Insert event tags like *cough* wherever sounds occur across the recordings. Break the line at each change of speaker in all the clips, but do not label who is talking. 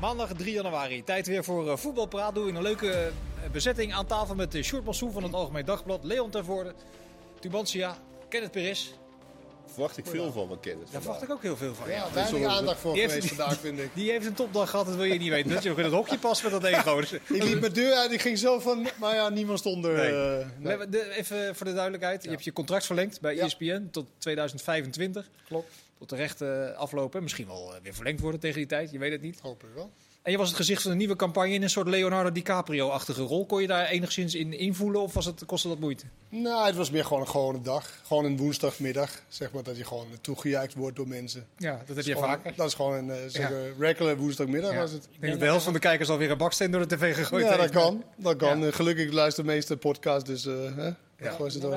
Maandag 3 januari. Tijd weer voor eh, voetbalpraat. Doe in een leuke eh, bezetting aan tafel met eh, Sjoerd Massoe van het Algemeen Dagblad. Leon Tervoorde, Tubantia, Kenneth Peris.
Verwacht ik veel van mijn kennis.
Daar verwacht ik ook heel veel van.
Ja, weinig aandacht voor
Die heeft-
geweest vandaag, vind *laughs* ik.
Die heeft een topdag gehad, dat wil je niet weten. Dat je ook in het hokje past met dat ego. Dus-
Ik liep mijn deur uit, ik ging zo van... Maar ja, niemand stond er.
Nee.
eh,
We
nee.
hebben de- Even voor de duidelijkheid. Je hebt je contract verlengd bij E
Ja.
ESPN tot 2025.
Klopt.
Tot de rechten aflopen. Misschien wel eh, weer verlengd worden tegen die tijd. Je weet het niet.
Hopelijk wel.
En je was het gezicht van een nieuwe campagne in een soort Leonardo DiCaprio-achtige rol. Kon je daar enigszins in invoelen of was het, kostte dat moeite?
Nou, het was meer gewoon een gewone dag. Gewoon een woensdagmiddag, zeg maar, dat je gewoon toegejuicht wordt door mensen.
Ja, dat heb
Gewoon- Dat is gewoon een eh, zeg,
Ja.
eh, regular woensdagmiddag was het.
Ik denk dat de helft van de kijkers alweer een baksteen door de tv gegooid
Ja, dat
heeft.
kan. Dat kan.
Ja.
Eh, Gelukkig luisteren de meeste podcasts, dus eh hè? Ja. Gewoon zit er-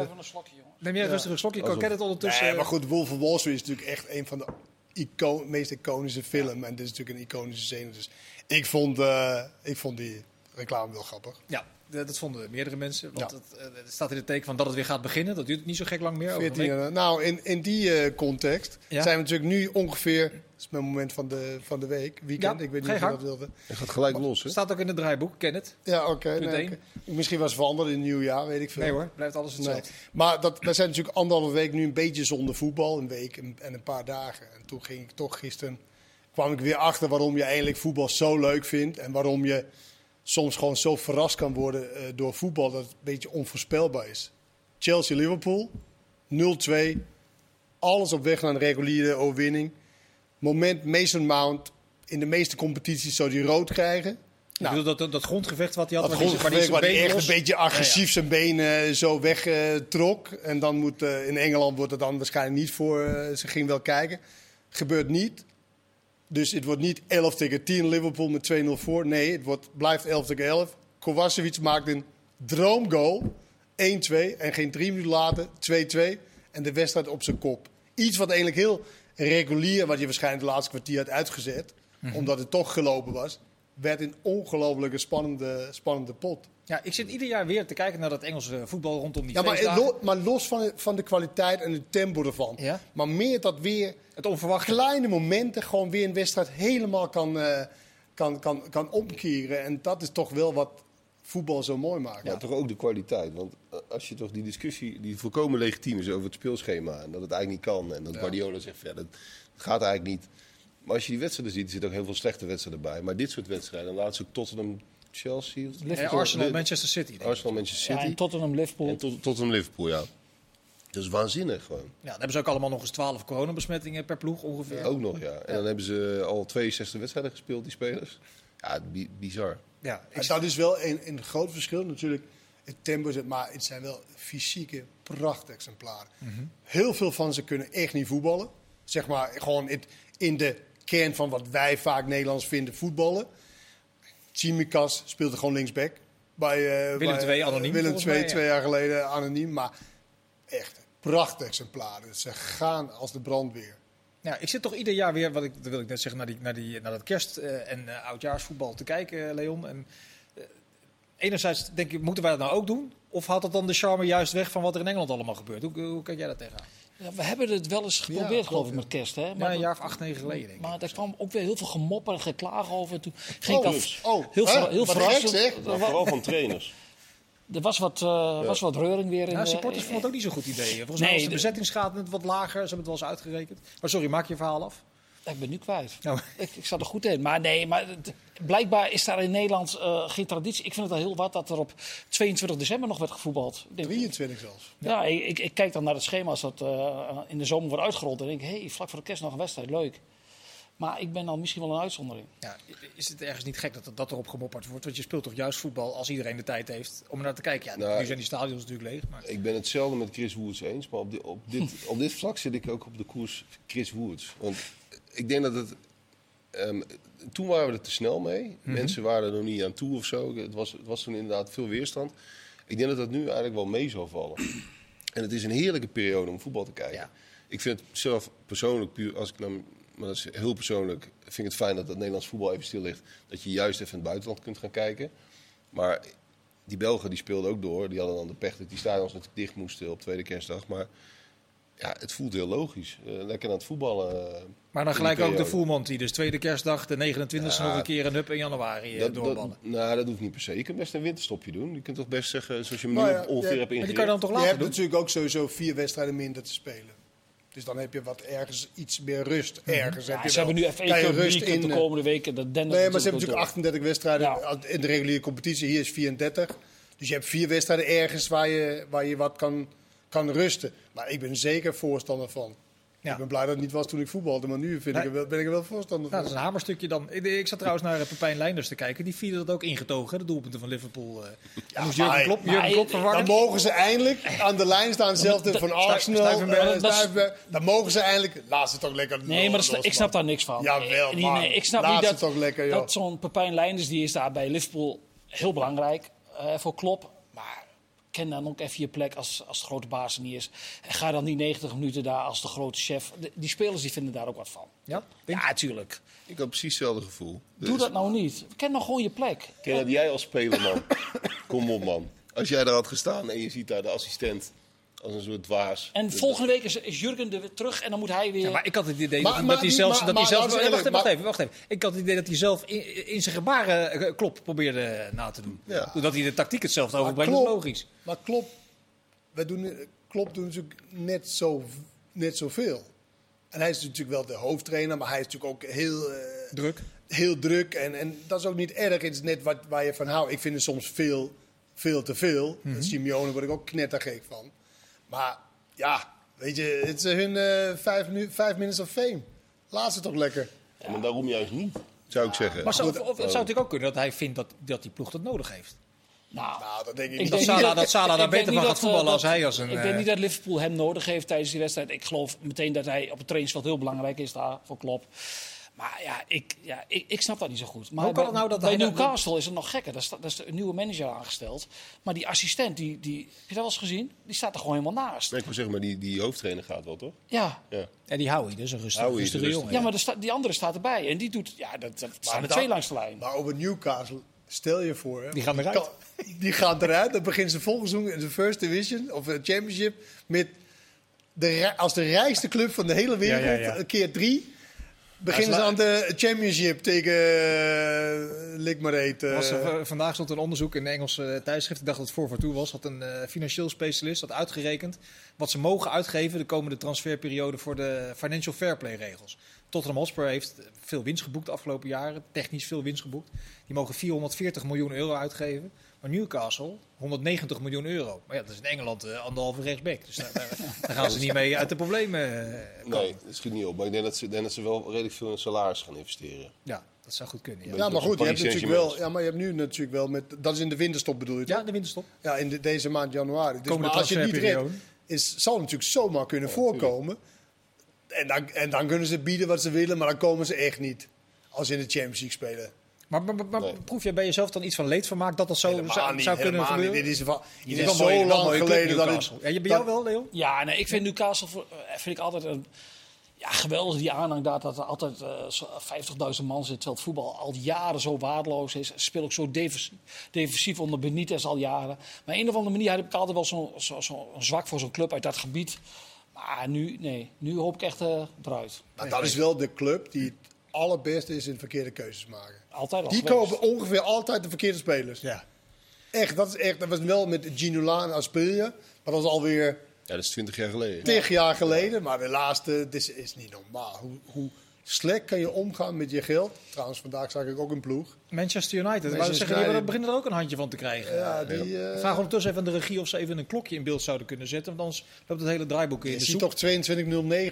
Neem jij rustig een slokje. Ik ken het ondertussen.
Nee, maar goed, Wolf of Wall Street is natuurlijk echt een van de ico- meest iconische film. En dit is natuurlijk een iconische scène. Dus ik vond, eh, ik vond die reclame wel grappig.
Ja, d- dat vonden meerdere mensen. Want
Ja.
het, eh, het staat in het teken van dat het weer gaat beginnen. Dat duurt niet zo gek lang meer. over een
14,
week.
eh, nou, in, in die eh, context
Ja.
zijn we natuurlijk nu ongeveer... Het is mijn moment van de, van de week, weekend.
Ja,
ik weet
ga
niet
je
of
gang.
je dat wilde.
Het gaat gelijk los, hè?
Staat ook in het draaiboek, ken het.
Ja, oké. nee,
één.
oké. Misschien was het veranderd in het nieuwjaar, weet ik veel.
Nee hoor, blijft alles
Nee.
hetzelfde.
Maar dat, we zijn natuurlijk anderhalve week nu een beetje zonder voetbal. Een week en, en een paar dagen. En toen ging ik toch gisteren... kwam ik weer achter waarom je eigenlijk voetbal zo leuk vindt. En waarom je soms gewoon zo verrast kan worden eh, door voetbal... dat het een beetje onvoorspelbaar is. Chelsea-Liverpool, 0-2. Alles op weg naar een reguliere overwinning. Moment Mason Mount in de meeste competities zou die rood krijgen.
Ik bedoel, dat, dat, dat grondgevecht wat hij had,
Nou. Dat
waar die- waar die
grondgevecht waar
zijn been
hij echt een
los-
beetje agressief zijn benen zo wegtrok. en dan moet, eh, in Engeland wordt het dan waarschijnlijk niet voor. eh, ze ging wel kijken. Gebeurt niet. Dus het wordt niet 11 tegen 10 Liverpool met 2-0 voor. Nee, het wordt, blijft 11 tegen 11. Kovacevic maakt een droomgoal. 1-2. En geen drie minuten later 2-2. En de wedstrijd op zijn kop. Iets wat eigenlijk heel regulier, wat je waarschijnlijk het laatste kwartier had uitgezet. Omdat het toch gelopen was. Werd een ongelooflijke spannende, spannende pot.
Ja, ik zit ieder jaar weer te kijken naar dat Engelse voetbal rondom die
Ja, maar, eh,
feestdagen.
lo- maar los van, van de kwaliteit en het tempo ervan.
Ja.
Maar meer dat weer
Het onverwachte.
kleine momenten gewoon weer een wedstrijd helemaal kan, eh, kan, kan, kan omkeren. En dat is toch wel wat voetbal zo mooi maakt.
Maar toch ook de kwaliteit. Want eh, als je toch die discussie, die volkomen legitiem is over het speelschema. En dat het eigenlijk niet kan. En dat Guardiola zegt, ja, dat gaat eigenlijk niet. Maar als je die wedstrijden ziet, er zitten ook heel veel slechte wedstrijden bij. Maar dit soort wedstrijden, laatst ook Tottenham, Chelsea. of
Eh,
Liverpool.
Arsenal,
De-
Manchester City. denk ik.
Arsenal, Manchester
Ja,
City.
en Tottenham, Liverpool.
en tot, Tottenham, Liverpool, ja. Dat is waanzinnig gewoon.
Ja, dan hebben ze ook allemaal nog eens 12 coronabesmettingen per ploeg ongeveer. Ja,
Ook nog, ja. En dan hebben ze al 62 wedstrijden gespeeld, die spelers. Ja, bi- bizar.
En dat is wel een, een groot verschil natuurlijk. Het tempo is het, maar het zijn wel fysieke prachtexemplaren.
Mhm.
Heel veel van ze kunnen echt niet voetballen. Zeg maar gewoon het, in de kern van wat wij vaak Nederlands vinden voetballen. Tsimikas speelde gewoon linksback. Bij, eh
Willem
bij,
II anoniem,
Willem
volgens
II
mij, ja.
twee jaar geleden anoniem. Maar echt prachtexemplaren. Ze gaan als de brandweer.
Ja, Nou, ik zit toch ieder jaar weer, wat ik, dat wil ik net zeggen, naar, die, naar, die, naar dat kerst- eh, en eh, oudjaarsvoetbal te kijken, eh, Leon. En, eh, enerzijds denk ik, moeten wij dat nou ook doen? Of haalt dat dan de charme juist weg van wat er in Engeland allemaal gebeurt? Hoe, hoe kijk jij daar tegenaan?
Ja, we hebben het wel eens geprobeerd,
klopt,
geloof ik,
ja.
met kerst. Hè?
Maar
dat-
een jaar of acht, negen geleden, denk ik.
maar daar kwam ook weer heel veel gemopper en geklaag over. Toen ging ik
Oh,
af-
dus. Oh,
heel,
hè?
ver- heel
Wat
verrassend.
gek, zeg.
Er
Nou,
wa-
vooral van trainers.
*laughs* Er was wat, eh, was wat reuring weer
Ja,
in eh, de-
Nou, supporters vonden het ook niet zo'n goed idee. Volgens mij
Nee,
was de
de-
bezettingsgraad net wat lager. Ze hebben het wel eens uitgerekend. Maar sorry, maak je verhaal af.
eh, Ik ben nu kwijt.
Nou.
Ik, ik zat er goed in. Maar nee, maar het- blijkbaar is daar in Nederland eh, geen traditie. Ik vind het al heel wat dat er op 22 december nog werd gevoetbald. Ik denk,
23 zelfs.
ja, ik, ik, ik kijk dan naar het schema als dat eh, in de zomer wordt uitgerold. En denk ik, hé, hey, vlak voor de kerst nog een wedstrijd, leuk. Maar ik ben dan misschien wel een uitzondering.
Ja, is het ergens niet gek dat, dat erop gemopperd wordt? Want je speelt toch juist voetbal als iedereen de tijd heeft om er naar te kijken? Ja,
Nou,
nu zijn die stadions natuurlijk leeg. Maar...
Ik ben hetzelfde met Chris Woods eens, maar op, di- op, dit, op dit vlak zit ik ook op de koers Chris Woods. Want ik denk dat het. ehm, toen waren we er te snel mee. Mensen waren er nog niet aan toe of zo. Het was, het was toen inderdaad veel weerstand. Ik denk dat dat nu eigenlijk wel mee zal vallen. En het is een heerlijke periode om voetbal te kijken.
Ja.
Ik vind het zelf persoonlijk, puur als ik naar, maar dat is heel persoonlijk, vind ik het fijn dat het Nederlands voetbal even stil ligt. Dat je juist even in het buitenland kunt gaan kijken. Maar die Belgen die speelden ook door. Die hadden dan de pech dat die stadions natuurlijk dicht moesten op tweede kerstdag. Maar Ja, het voelt heel logisch. Eh, lekker aan het voetballen. eh,
Maar dan
in
gelijk
die
ook de
periode.
voermond die dus tweede kerstdag, de 29e
Ja.
nog een keer een hup in januari eh,
Dat,
doorballen.
dat, nou, dat hoeft niet per se. Je kunt best een winterstopje doen. Je kunt toch best zeggen, zoals je me
Nou
nu
ja,
ongeveer
ja,
hebt
maar die
ingericht.
kan je dan toch
Je
laten
hebt
doen?
natuurlijk ook sowieso vier wedstrijden minder te spelen. Dus dan heb je wat ergens iets meer rust. Ergens heb
Mhm. Ja,
je
ze
wel-
hebben nu even
kan je
één
rust
rust in de
eh,
komende weken. Dat dendert
Nee, maar ze hebben
ook
natuurlijk 38 wedstrijden
Ja.
in de reguliere competitie. Hier is 34. Dus je hebt vier wedstrijden ergens waar je, waar je wat kan, kan rusten. Maar ik ben zeker voorstander van.
Ja.
Ik ben blij dat het niet was toen ik voetbalde, maar nu vind
Nee.
ik er wel, ben ik er wel
Nou,
voorstander van.
dat is een hamerstukje dan. Ik, ik zat trouwens naar eh, Pepijn Leinders te kijken. Die vierde dat ook ingetogen, hè, de doelpunten van Liverpool. eh.
Ja,
moest
maar
Jurgen
hij-
Klopp,
maar
Jurgen
hij-
Klopp
dan
verwarren.
mogen ze eindelijk aan de lijn staan, zelfde van Arsenal.
Stuyvenberg.
eh,
Maar dat is-
Stuyvenberg. dan mogen ze eindelijk. Laat ze toch lekker.
Nee, maar dat is- ik snap daar niks van.
Jawel,
Eh, nee,
man.
nee, ik snap
Laat
niet
ze
dat,
toch lekker, joh.
dat zo'n Pepijn Leinders, die is daar bij Liverpool heel belangrijk eh, voor Klopp. Maar ken dan ook even je plek als, als de grote baas er niet is. En ga dan niet 90 minuten daar als de grote chef. De- die spelers die vinden daar ook wat van.
Ja, denk
Ja, tuurlijk.
Ik had precies hetzelfde gevoel.
Dus-
Doe dat nou niet. Ken nou gewoon je plek.
Ken dat jij als speler, *coughs* man. Kom op, man. Als jij daar had gestaan en je ziet daar de assistent als een soort dwaas.
En
Dat-
volgende week is, is Jurgen er weer terug en dan moet hij weer...
Dus- Ja, maar ik had het idee
Maar-
dat-
maar
dat hij
die-
zelfs...
maar-
dat hij
maar
zelfs
laten we
wacht, even,
eerlijk-
wacht
maar-
even, wacht even. Ik had het idee dat hij zelf in, in zijn gebaren eh, Klopp probeerde eh, na te doen.
Ja.
Doordat hij de tactiek hetzelfde
Maar
overbrengt, dat is
Klopp-
logisch.
Maar klopt. Wij doen, klopt doen natuurlijk net, zo, net zoveel. En hij is natuurlijk wel de hoofdtrainer, maar hij is natuurlijk ook heel, eh,
Druk.
heel druk. En, en dat is ook niet erg. Het is net wat, waar je van houdt. Ik vind het soms veel, veel te veel.
Mhm.
Simeone word ik ook knettergek van. Maar ja, weet je, het is hun eh, vijf, minu- vijf minutes of fame. Laat ze toch lekker.
Maar daarom juist niet, zou ik zeggen.
Maar zou, of, of het
Oh.
zou natuurlijk ook kunnen dat hij vindt dat, dat die ploeg dat nodig heeft.
Nou,
Nou, dat denk ik
Ik
niet.
Dat
denk
Salah-
niet
dat Salah daar
ik denk
beter
niet
van gaat
eh,
voetballen
dat-
als hij als een,
Ik denk
eh,
niet dat Liverpool hem nodig heeft tijdens die wedstrijd. Ik geloof meteen dat hij op het trainingsveld heel belangrijk is daar voor Klopp. Maar ja, ik, ja ik, ik snap dat niet zo goed. Maar
Hoe kan
bij-
het nou dat
bij
hij dat-
Newcastle is het nog gekker. Daar is, daar is een nieuwe manager aangesteld. Maar die assistent, die, die, heb je dat wel eens gezien? Die staat er gewoon helemaal naast.
Nee, ik wil zeggen, maar die, die hoofdtrainer gaat wel, toch?
Ja,
Ja.
En die Howie, dus een rustige,
Howie,
rustige
de
jongen.
ja maar er staat- die andere staat erbij. En die doet, ja, dat, dat staan er
dat-
twee langs de lijn.
Maar over Newcastle, stel je voor. Hè,
Die gaan eruit.
kan- die gaan eruit. Dan beginnen ze volgend seizoen in de First Division of de Championship. Met de, rij- als de rijkste club van de hele wereld,
Ja, ja, ja.
keer drie. Beginnen
Ja,
ze
is
aan de Championship tegen. Uh, maar heet.
Er was, eh, vandaag stond een onderzoek in de Engelse eh, tijdschrift. Ik dacht dat het voor voor toe was. Had een eh, financieel specialist had uitgerekend wat ze mogen uitgeven de komende transferperiode voor de financial fair play regels. Tottenham Hotspur heeft veel winst geboekt de afgelopen jaren. Technisch veel winst geboekt. Die mogen 440 miljoen euro uitgeven. Maar Newcastle 190 miljoen euro. Maar ja, dat is in Engeland eh, anderhalve rechtsback. Dus daar, daar, daar gaan ze niet mee uit de problemen. eh, komen.
Nee, dat schiet niet op. Maar ik denk dat ze, ik denk dat ze wel redelijk veel in salaris gaan investeren.
Ja, dat zou goed kunnen. Ja,
ja, maar
dat is
goed, je
een
hebt
Paris
natuurlijk wel, ja,
Saint-Germain.
maar je hebt nu natuurlijk wel met. Dat is in de winterstop bedoel je? toch?
ja de winterstop.
Ja, in de- deze maand januari. Dus,
Komende
maar als je het niet redt,
transferperiode.
is, zal het natuurlijk zomaar kunnen voorkomen. En dan, en dan kunnen ze bieden wat ze willen, maar dan komen ze echt niet. Als ze in de Champions League spelen.
Maar, maar, maar- maar
Nee.
proef jij bij jezelf dan iets van leedvermaak dat dat zo
Helemaal
zou,
niet,
zou kunnen
helemaal niet.
gebeuren?
Dit is, va- dit
bent
is
wel
zo
een
lang
mooie club,
geleden dat het...
Newcastle. Ja, je bij
dat-
jou wel, Leon?
Ja, nee, ik vind Newcastle voor- eh, vind ik altijd een ja, geweldig die aanhang daar dat er altijd eh, zo- 50.000 man zit, terwijl het voetbal al jaren zo waardeloos is. Ze spelen ook zo defensief, defensief onder Benitez al jaren. Maar op een of andere manier heb ik altijd wel zo'n zo, zo, een zwak voor zo'n club uit dat gebied. Maar nu, nee, nu hoop ik echt eh eruit.
Maar dat is wel de club die het allerbeste is in verkeerde keuzes maken.
Altijd al
Die
geweest.
kopen ongeveer altijd de verkeerde spelers.
Ja.
Echt, dat is echt. Dat was wel met Ginolaan als speler, maar dat was alweer
Ja, dat is 20 jaar geleden.
tig jaar geleden. Maar de laatste, dit is, is niet normaal. Hoe, hoe slecht kan je omgaan met je geld? Trouwens, vandaag zag ik ook een ploeg.
Manchester United.
Manchester
Waar ze zeggen, ja, maar
United.
daar beginnen er ook een handje van te krijgen.
Ja, die, eh,
Vraag ondertussen even aan de regie of ze even een klokje in beeld zouden kunnen zetten. Want anders loopt het hele draaiboek in
je
de
ziet
soep.
toch 22.09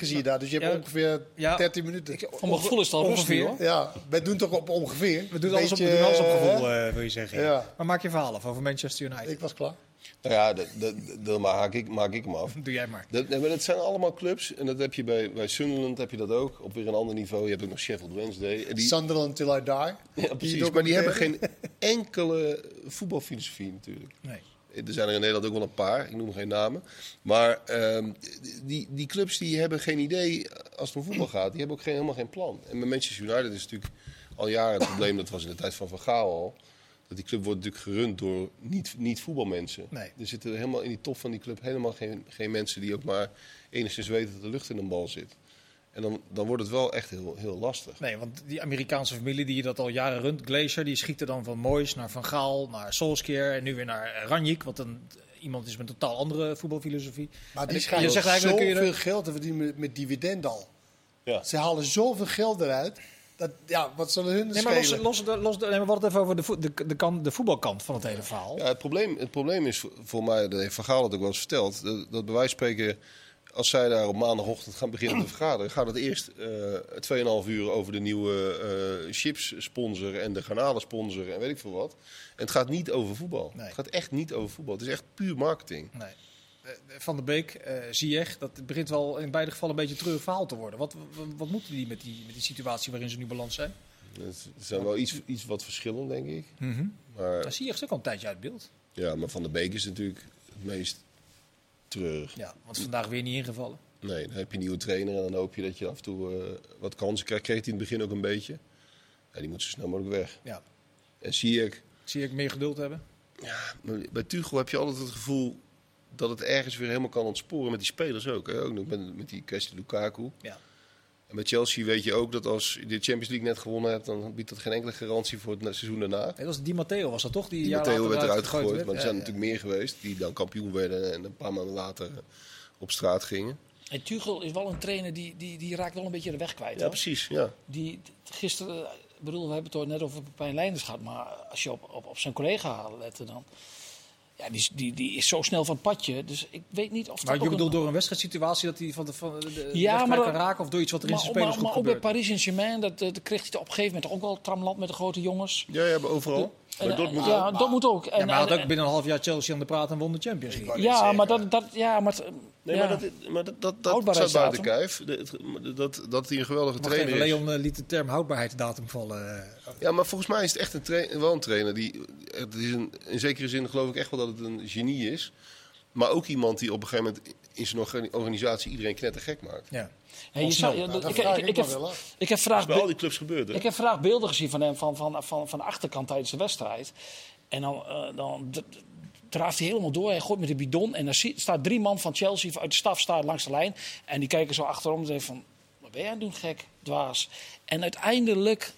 zie je daar, dus je hebt
Ja.
ongeveer
Ja.
13 minuten.
Voor mijn gevoel is het al
Ongeveer.
rustig, hoor.
Ja, wij doen toch op ongeveer.
We doen, alles op, we
Beetje,
doen alles op
hè?
gevoel, eh, wil je zeggen. ja.
Ja.
Maar maak je verhaal af over Manchester United.
eh, Ik was klaar.
Nou ja, dat, dat, dat maak, ik, maak ik hem af.
*laughs* Doe jij maar.
Dat, nee, maar dat zijn allemaal clubs. En dat heb je bij, bij Sunderland heb je dat ook. Op weer een ander niveau. Je hebt ook nog Sheffield Wednesday. En die,
Sunderland till I die.
ja, precies, maar die hebben geen enkele voetbalfilosofie natuurlijk.
Nee.
Er zijn er in Nederland ook wel een paar, ik noem geen namen. Maar ehm, die, die clubs die hebben geen idee als het om voetbal gaat. Die hebben ook geen, helemaal geen plan. En met Manchester United is natuurlijk al jaren het probleem, dat was in de tijd van Van Gaal al. Dat die club wordt natuurlijk gerund door niet, niet voetbalmensen.
Nee.
Er zitten helemaal in die top van die club helemaal geen, geen mensen die ook maar enigszins weten dat de lucht in een bal zit. En dan, dan wordt het wel echt heel, heel lastig.
Nee, want die Amerikaanse familie die je dat al jaren runt, Glacier, die schieten dan van Moyes naar Van Gaal, naar Solskjaer en nu weer naar Ranjik. Want dan iemand is met een totaal andere voetbalfilosofie.
Maar
En
die
ik-
schijnen
je zegt eigenlijk, kun je
zoveel
er-
geld te verdienen met, met dividend al.
Ja.
Ze halen zoveel geld eruit. Dat, ja, wat zullen hun
Nee, maar los,
schelen?
los, los, nee, maar we hadden het even over de, vo- de, de, kant, de voetbalkant van het hele verhaal.
Ja, het, probleem, het probleem is voor- voor mij, dat heeft Van Gaal het ook wel eens verteld, dat, dat bij wijze van spreken, als zij daar op maandagochtend gaan beginnen te vergaderen, gaat het eerst eh 2,5 uur over de nieuwe eh chips-sponsor en de garnalensponsor en weet ik veel wat. En het gaat niet over voetbal.
Nee.
Het gaat echt niet over voetbal. Het is echt puur marketing.
Nee. Eh, Van der Beek, eh Ziyech, dat begint wel in beide gevallen een beetje een treurig verhaal te worden. Wat, wat, wat moeten die met, die met die situatie waarin ze nu balans zijn?
Het zijn wel iets, iets wat verschillen, denk ik.
Mhm.
Maar,
Nou, Ziyech is ook al een tijdje uit beeld.
ja, maar Van der Beek is natuurlijk het meest treurig.
Ja, want vandaag weer niet ingevallen.
Nee, dan heb je een nieuwe trainer en dan hoop je dat je af en toe eh, wat kansen krijgt. Kreeg hij in het begin ook een beetje. Ja, die moet zo snel mogelijk weg.
Ja.
En zie ik,
Ziyech meer geduld hebben.
bij Tuchel heb je altijd het gevoel dat het ergens weer helemaal kan ontsporen. Met die spelers ook. Hè? Ook nog met, met die kwestie Lukaku.
Ja.
En bij Chelsea weet je ook dat als je de Champions League net gewonnen hebt, dan biedt dat geen enkele garantie voor het na- seizoen daarna.
Nee, dat was Di Matteo, was dat toch? Die,
Die
een jaar
Matteo
later
werd eruit
gegooid
gegooid, maar er
werd.
zijn
Ja,
natuurlijk meer geweest die dan kampioen werden en een paar maanden later eh, op straat gingen.
En Tuchel is wel een trainer die, die, die raakt wel een beetje de weg kwijt.
Ja,
hoor.
precies. Ja.
Die, t- gisteren, eh, ik bedoel, we hebben het net over Pepijn Leinders gehad. Maar als je op, op, op zijn collega lette dan... Ja, die, is- die, die is zo snel van het padje. Dus ik weet niet of
Maar je
dat ook een-
bedoelt door een wedstrijdsituatie dat hij van de, van de de
Ja,
weg
maar
kwijt kan
dat-
raken of door iets wat er in
Maar,
zijn
ook- maar,
spelersgroep
maar ook bij
gebeurt?
Paris Saint-Germain, dat, eh, dat kreeg hij op een gegeven moment ook wel tramland met de grote jongens.
Ja, ja, maar overal.
En, eh,
Maar Dortmund
ja, dat moet ook. En,
eh, Ja, maar hij had
en-
ook binnen een half jaar Chelsea aan de praat en won de Champions League.
wou net
ja,
zeggen.
maar dat, dat, ja, maar het-
Nee,
ja.
maar dat, maar dat, dat, dat
Houdbaarheid
staat buiten
datum.
kijf. De- het- Dat, dat hij een geweldige
Wacht even,
trainer is.
Leon eh, liet de term houdbaarheidsdatum vallen. eh,
Ja, maar volgens mij is het echt een trai- wel een trainer. Die, het is een, in zekere zin geloof ik echt wel dat het een genie is. Maar ook iemand die op een gegeven moment in zijn orga- organisatie iedereen knettergek maakt.
Ja.
Hey, je zou- ja, dat-
dat
ik-
vraag
ik-
ik
ik
me
heb-
wel af.
Ik heb
Dat
vraag
is bij al die clubs gebeurd. hè?
Ik heb vandaag beelden gezien van hem van, van, van, van de achterkant tijdens de wedstrijd. En dan, eh dan d- d- draaft hij helemaal door. Hij gooit met de bidon. En dan zie- staat drie man van Chelsea uit de staf staat langs de lijn. En die kijken zo achterom en zeggen van... Wat ben jij aan het doen, gek, dwaas? En uiteindelijk,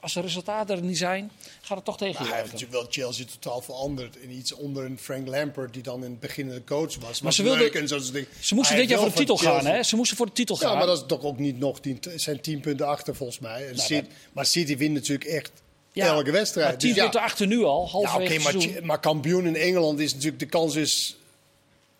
als de resultaten er niet zijn, gaat het toch tegen
Maar
je
Nou, Ah, hij heeft
werken.
natuurlijk wel Chelsea totaal veranderd. In iets onder een Frank Lampard, die dan in het begin de coach was.
Maar ze
Leuk
wilden-
en zo, soort dingen.
Ze moesten
Hij
dit jaar voor
heeft
de titel
wel van
gaan,
Chelsea-
hè? Ze moesten voor de titel gaan.
Ja, maar dat is toch ook niet nog tien, het zijn tien punten achter volgens mij.
Nou,
En City- maar City wint natuurlijk echt
Ja,
elke wedstrijd.
maar tien
Dus ja,
punten achter nu al,
ja,
halverwege
oké,
het
maar,
seizoen.
tje- maar kampioen in Engeland is natuurlijk de kans is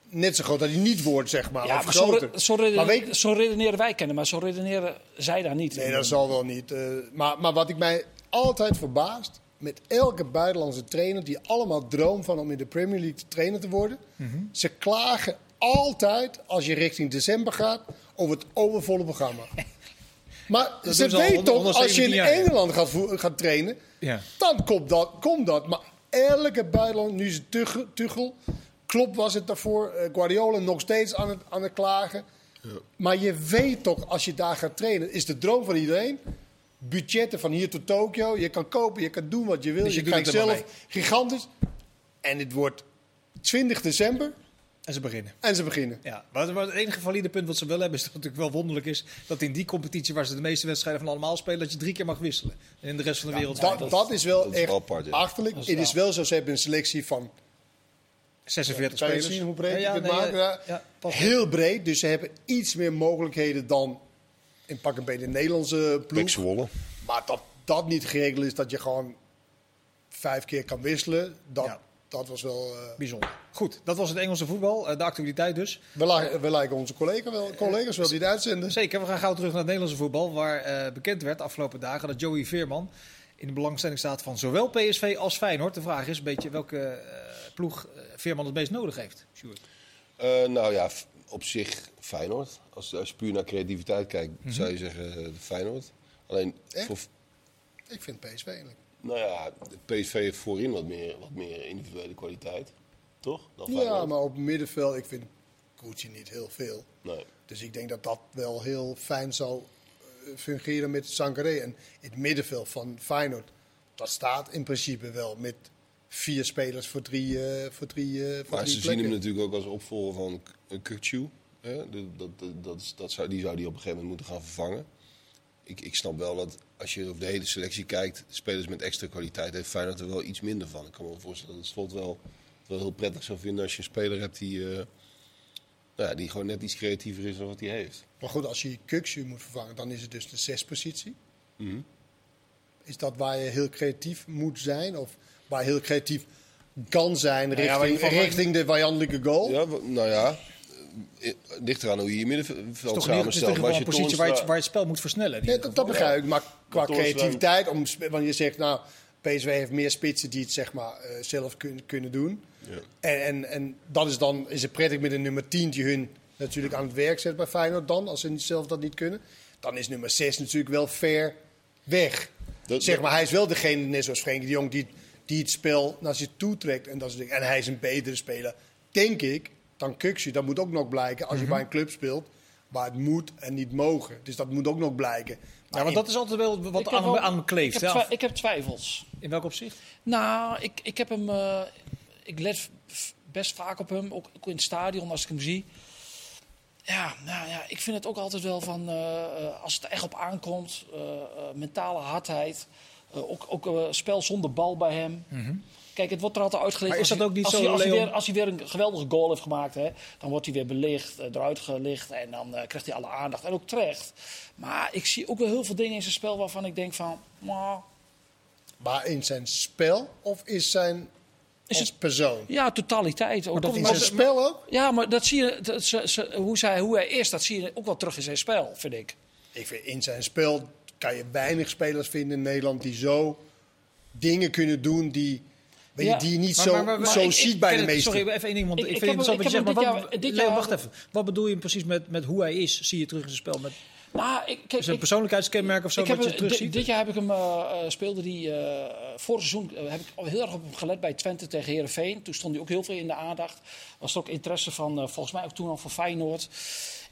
net zo groot dat hij niet wordt, zeg maar.
Ja,
of
maar zo,
groter.
re- zo, reden-
maar weet,
zo redeneren wij kennen, maar zo redeneren zij daar niet.
nee, dat zal wel niet. eh, maar, maar wat ik mij altijd verbaast met elke buitenlandse trainer die allemaal droom van om in de Premier League trainer te worden,
Mhm.
ze klagen altijd als je richting december gaat over het overvolle
*laughs*
programma. Maar ze
doen ze al
weet
honderd-
toch, als je
117
in
jaar, ja.
Engeland gaat, voe- gaat trainen,
Ja.
dan komt dat, komt dat. Maar elke buitenland, nu is het Tuchel, Tuchel Klopp was het daarvoor, eh, Guardiola nog steeds aan het, aan het klagen. Maar je weet toch, als je daar gaat trainen, is de droom van iedereen... budgetten van hier tot Tokio, je kan kopen, je kan doen wat je wil.
Dus je
je
doet
kijkt
het er maar
zelf gigantisch. En het wordt 20 december
En ze beginnen.
en ze beginnen.
Ja, maar maar het enige valide punt wat ze wel hebben is dat het natuurlijk wel wonderlijk is dat in die competitie waar ze de meeste wedstrijden van allemaal spelen, dat je drie keer mag wisselen. En in de rest van de wereld
Dat, dat is wel
dat is
echt
wel apart, ja.
achterlijk. Het is wel zo, ze hebben een selectie van
46
Kan je
spelers.
zien hoe breed je kunt
nee,
maken?
Ja,
Ja,
ja, pas op.
Heel breed, dus ze hebben iets meer mogelijkheden dan in pak een beetje de Nederlandse
Pek
ploeg.
Zwolle.
Maar dat dat niet geregeld is, dat je gewoon vijf keer kan wisselen, dat,
Ja.
dat was wel... eh,
bijzonder. Goed, dat was het Engelse voetbal, eh, de actualiteit dus.
we, lijken, we lijken onze collega wel, collega's wel die het uitzenden.
Zeker, we gaan gauw terug naar het Nederlandse voetbal, waar eh, bekend werd afgelopen dagen dat Joey Veerman in de belangstelling staat van zowel PSV als Feyenoord. De vraag is een beetje welke eh, ploeg eh, Veerman het meest nodig heeft. Sjoerd.
Eh, nou ja, f- op zich Feyenoord. Als, als je puur naar creativiteit kijkt, zou je zeggen eh, Feyenoord. Alleen,
Echt?
voor,
Ik vind PSV eigenlijk.
nou ja, de PSV heeft voorin wat meer, wat meer individuele kwaliteit. Toch? Dan
Ja,
Feyenoord.
maar op middenveld, ik vind Koetje niet heel veel.
Nee.
Dus ik denk dat dat wel heel fijn zal eh, fungeren met Sangaré. En het middenveld van Feyenoord, dat staat in principe wel met vier spelers voor drie, eh, voor drie, eh, voor
Maar
drie
ze zien
plekken.
hem natuurlijk ook als opvolger van K- eh, Kukçu. hè. De- Dat, dat, dat, is- dat zou, die zou die op een gegeven moment moeten gaan vervangen. Ik, ik snap wel dat als je op de hele selectie kijkt, spelers met extra kwaliteit, heeft Feyenoord er wel iets minder van. Ik kan me wel voorstellen dat het slot wel, wel heel prettig zou vinden als je een speler hebt die, eh, nou, ja, die gewoon net iets creatiever is dan wat hij heeft.
Maar goed, als je Kukshu moet vervangen, dan is het dus de zespositie.
Mhm.
Is dat waar je heel creatief moet zijn? Of waar je heel creatief kan zijn
Nou ja, maar in
richting,
ieder geval-
richting de vijandelijke
Oh.
goal?
Ja, w- nou ja, eh, eh, ligt eraan hoe je je middenveld
Toch niet- het is
samenstelt.
toch
Maar
wel
als
een
je
positie waar je, het-
Toornstra-
waar je het spel moet versnellen. in
Ja,
ieder
dat, dat begrijp ik. Maar qua
Toornstra-
creativiteit, om, sp- want je zegt nou, PSV heeft meer spitsen die het zeg maar eh, zelf kun- kunnen doen.
Ja.
En, en, en dat is dan is het prettig met een nummer 10 die hun natuurlijk aan het werk zet bij Feyenoord dan, als ze niet- zelf dat niet kunnen. Dan is nummer 6 natuurlijk wel ver weg.
Dat-
zeg maar, hij is wel degene, net zoals Frenkie de Jong, die, die het spel naar zich toe trekt. En, dat soort dingen. en hij is een betere speler, denk ik, dan Kuxu. Dat moet ook nog blijken als
Mhm.
je bij een club speelt waar het moet en niet mogen. Dus dat moet ook nog blijken.
geval. Ja, Nou, want dat is altijd wel wat
Ik
aan,
heb
hem-
wel-
aan hem kleeft.
Ik heb,
hè?
twi- ik heb twijfels.
In welk opzicht?
Nou, ik, ik heb hem. eh, ik let f- f- best vaak op hem, ook, ook in het stadion als ik hem zie. Ja, nou ja, ik vind het ook altijd wel van. eh, eh, als het er echt op aankomt, eh, eh, mentale hardheid. eh, ook ook eh, spel zonder bal bij hem. Kijk, het wordt er altijd uitgelegd.
Mhm. Maar is dat
als hij-
ook niet
als
zo,
hij, als, hij
Leon?
weer, als hij weer een geweldige goal heeft gemaakt, hè, dan wordt hij weer belicht, eh, eruit gelicht. En dan eh, krijgt hij alle aandacht. En ook terecht. Maar ik zie ook wel heel veel dingen in zijn spel waarvan ik denk van. "Mwah."
Maar in zijn spel of is zijn
Is
als
het-
persoon?
ja, totaliteit. Ook dat
In
hij
zijn
zo-
spel ook?
Ja, maar dat zie je, dat ze- ze- hoe, zij, hoe hij is, dat zie je ook wel terug in zijn spel, vind ik.
Ik vind, in zijn spel kan je weinig spelers vinden in Nederland die zo dingen kunnen doen die, weet je,
Ja,
die je niet
Maar-
zo,
maar- maar- maar
zo
ik- ik
ziet bij
ken
de
het-
meesten.
Sorry, even één ding, want ik,
Ik- ik
vind
heb
het
hem-
interessant
ik
wat je
heb
zegt.
hem
Maar wat,
dit jaar- dit
Leo,
jaar-
wacht even. Wat bedoel je precies met, met hoe hij is? Zie je terug in zijn spel? Met
Nou, ik, kijk,
zijn
ik-
persoonlijkheidskenmerk of zo?
ik heb
wat je
hem-
terug
di-
ziet?
Dit jaar heb ik hem, eh, eh, speelde die eh, vorig seizoen eh, heb ik al heel erg op hem gelet bij Twente tegen Herenveen. Toen stond hij ook heel veel in de aandacht. Was er ook interesse van, eh, volgens mij ook toen al van Feyenoord.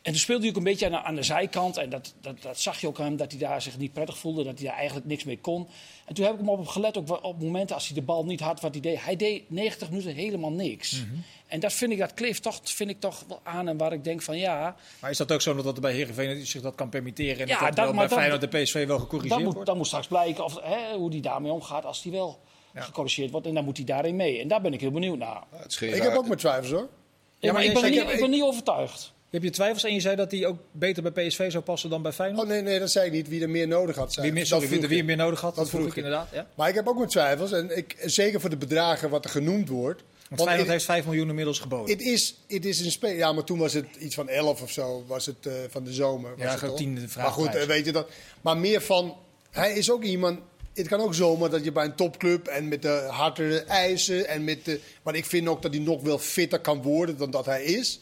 En toen speelde hij ook een beetje aan de, aan de zijkant. En dat, dat, dat zag je ook aan hem, dat hij daar zich niet prettig voelde. Dat hij daar eigenlijk niks mee kon. En toen heb ik hem op hem gelet, ook wa- op momenten als hij de bal niet had, wat hij deed. Hij deed 90 minuten helemaal niks.
Mhm.
En dat vind ik, dat kleeft toch, vind ik toch wel aan. En waar ik denk van, ja,
Maar is dat ook zo dat dat bij Heerenveen zich dat kan permitteren? En
Ja,
dat, dat wel
dat- maar
bij
dat-
Feyenoord en PSV wel gecorrigeerd
Dan moet,
wordt?
dan moet straks blijken of, hè, hoe hij daarmee omgaat als hij wel
Ja.
gecorrigeerd wordt. En dan moet hij daarin mee. En daar ben ik heel benieuwd naar.
Ja, het is geen
Ik heb
raar-
ook mijn twijfels hoor.
Ja,
Ja,
maar
maar
jij
ik ben,
zei-
niet,
ik-
ik ben niet overtuigd.
Je hebt je twijfels en je zei dat hij ook beter bij PSV zou passen dan bij Feyenoord?
Oh nee, nee, dat zei ik niet. Wie er meer nodig had. Zei.
wie meer,
ik.
sorry,
Dat
wie,
vroeg
wie
ik.
meer nodig had, dat vroeg ik
vroeg ik.
inderdaad. Ja?
Maar ik heb ook mijn twijfels. En ik, zeker voor de bedragen wat er genoemd wordt.
Want Feyenoord
het-
heeft 5 miljoen inmiddels geboden.
het is, het is een spel. Ja, maar toen was het iets van 11 of zo. Was het eh, van de zomer. Was
Ja,
het
gewoon
toch?
tiende
Maar goed,
vraagprijs.
eh, weet je dat. Maar meer van. Hij is ook iemand. Het kan ook zomaar dat je bij een topclub en met de hardere eisen en met de. Maar ik vind ook dat hij nog wel fitter kan worden dan dat hij is.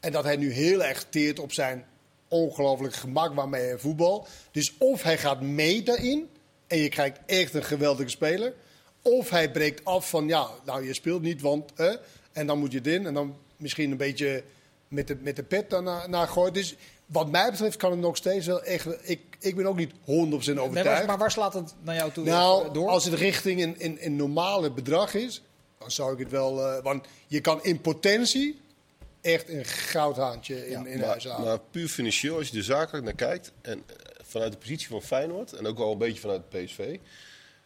En dat hij nu heel erg teert op zijn ongelooflijk gemak waarmee hij voetbal. Dus of hij gaat mee daarin en je krijgt echt een geweldige speler. Of hij breekt af van ja, nou je speelt niet, want. eh, en dan moet je dit en dan misschien een beetje met de, met de pet daarna naar gooien. Dus wat mij betreft kan het nog steeds wel echt. Ik, ik ben ook niet 100% overtuigd.
Nee, maar, maar waar slaat het naar jou toe eh,
Nou,
door?
als het richting een, een, een normale bedrag is, dan zou ik het wel. eh, want je kan in potentie echt een goudhaantje in, in
maar,
huis halen.
maar puur financieel, als je er zakelijk naar kijkt, en eh, vanuit de positie van Feyenoord en ook wel een beetje vanuit PSV,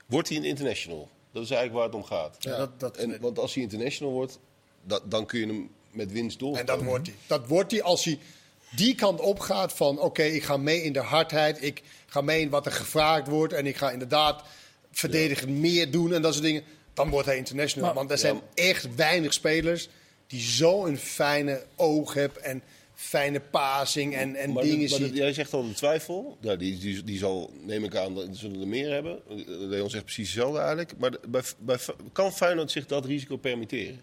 wordt hij een international. Dat is eigenlijk waar het om gaat.
Ja, dat- dat-
en, want als hij international wordt, da- dan kun je hem met winst door.
En dat wordt hij. Dat wordt hij als hij die kant op gaat van... oké, ik ga mee in de hardheid. Ik ga mee in wat er gevraagd wordt. En ik ga inderdaad verdedigend meer doen en dat soort dingen. Dan wordt hij international.
Maar-
Want er zijn echt weinig spelers die zo'n fijne oog hebben... en fijne passing en, en
maar
dingen
dat- maar dat-
ziet.
jij zegt al de twijfel. Ja, die, die, die zal, neem ik aan, dat zullen er meer hebben. Eh, Leon zegt precies hetzelfde eigenlijk. Maar de- bij, bij, kan Feyenoord zich dat risico permitteren?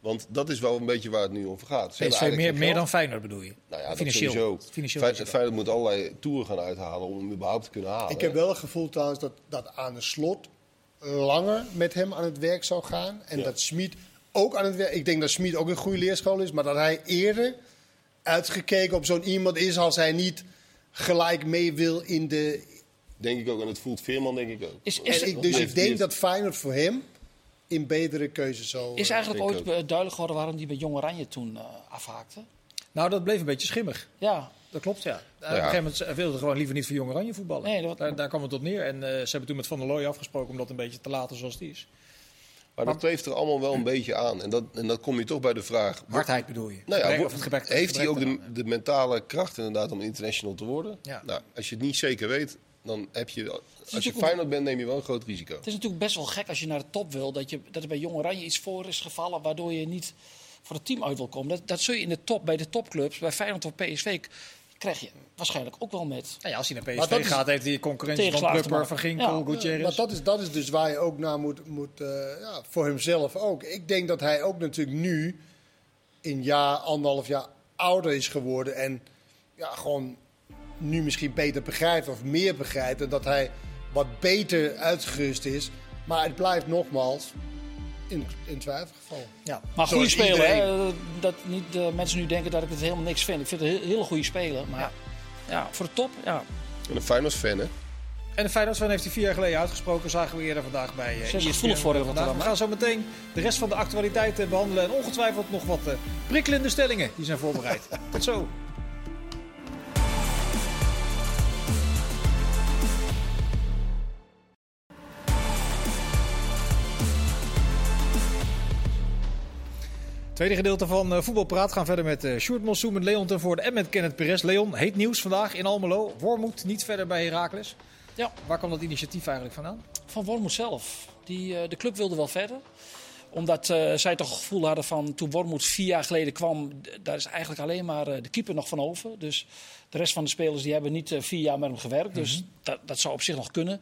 Want dat is wel een beetje waar het nu om gaat. Ze hebben
PSV
eigenlijk
meer,
geen
meer
geld.
dan Feyenoord bedoel je?
Nou ja,
financieel.
dat sowieso.
Financieel
Fe-
is het wel.
Feyenoord moet allerlei toeren gaan uithalen om hem überhaupt te kunnen halen.
Ik heb wel het gevoel trouwens dat, dat aan de slot langer met hem aan het werk zou gaan. En
Ja.
dat Smit ook aan het werk. Ik denk dat Smit ook een goede leerschool is, maar dat hij eerder uitgekeken op zo'n iemand is als hij niet gelijk mee wil in de,
Denk ik ook. En dat voelt Veerman, denk ik ook.
Is, is,
En ik, dus
Die
ik
heeft-
denk
die
dat Feyenoord voor hem in betere keuze zal...
is
eh,
eigenlijk
ik
ooit
ook.
eh, duidelijk geworden waarom die bij Jong Oranje toen eh, afhaakte?
Nou, dat bleef een beetje schimmig.
Ja,
Dat klopt, ja. Op
ja.
een gegeven moment ze wilden gewoon liever niet voor Jong Oranje voetballen.
Nee, dat-
daar, daar kwam het op neer. En eh, ze hebben toen met Van der Looy afgesproken om dat een beetje te laten zoals het is.
Maar dat kleeft er allemaal wel een beetje aan. En, dat, en dan kom je toch bij de vraag...
Hardheid bedoel je?
Nou ja,
Gebrek-
wo-
of het gebrek-
heeft hij ook
gebrek
de,
eraan.
de mentale kracht inderdaad om international te worden?
Ja.
Nou, als je het niet zeker weet, dan heb je... Als je
natuurlijk
Feyenoord bent, neem je wel een groot risico.
het is natuurlijk best wel gek als je naar de top wil. Dat, je, dat er bij Jong Oranje iets voor is gevallen waardoor je niet voor het team uit wil komen. Dat, dat zul je in de top, bij de topclubs, bij Feyenoord of PSV, k- krijg je waarschijnlijk ook wel met.
Nou ja, als hij naar
Maar dat
PSV
is-
gaat, heeft hij concurrentie van
Tegenslagen te
Klupper, Van
maken.
Ginkel,
Ja.
Gutierrez.
Maar dat is, dat is dus waar je ook naar moet, moet eh, ja, voor hemzelf ook. Ik denk dat hij ook natuurlijk nu een jaar, anderhalf jaar ouder is geworden. En ja, gewoon nu misschien beter begrijpt of meer begrijpt. En dat hij wat beter uitgerust is. Maar het blijft nogmaals in, in twijfelgeval.
Ja.
Maar goede
Zoals
speler, hè?
iedereen.
Eh, Dat niet de mensen nu denken dat ik het helemaal niks vind. Ik vind het een heel- hele goede speler, maar ja. voor de top, ja.
En een Feyenoord-fan, hè?
En de Feyenoord-fan heeft hij vier jaar geleden uitgesproken. Zagen we eerder vandaag bij eh,
Ze is
ESPN
gevoelig voor in
vandaag.
Rotterdam,
We
hè?
gaan zo meteen de rest van de actualiteiten behandelen. En ongetwijfeld nog wat eh, prikkelende stellingen die zijn voorbereid. Tot zo. Tweede gedeelte van eh, Voetbalpraat gaan verder met eh Sjoerd Mossoe, met Leon ten Voorde en met Kenneth Perez. Leon, heet nieuws vandaag in Almelo. Wormoed niet verder bij Heracles.
Ja.
Waar kwam dat initiatief eigenlijk vandaan?
Van Wormoed zelf. Die, eh, de club wilde wel verder. Omdat eh, zij toch het gevoel hadden van toen Wormoed vier jaar geleden kwam, d- daar is eigenlijk alleen maar eh, de keeper nog van over. Dus de rest van de spelers die hebben niet eh, vier jaar met hem gewerkt. Dus dat, dat zou op zich nog kunnen.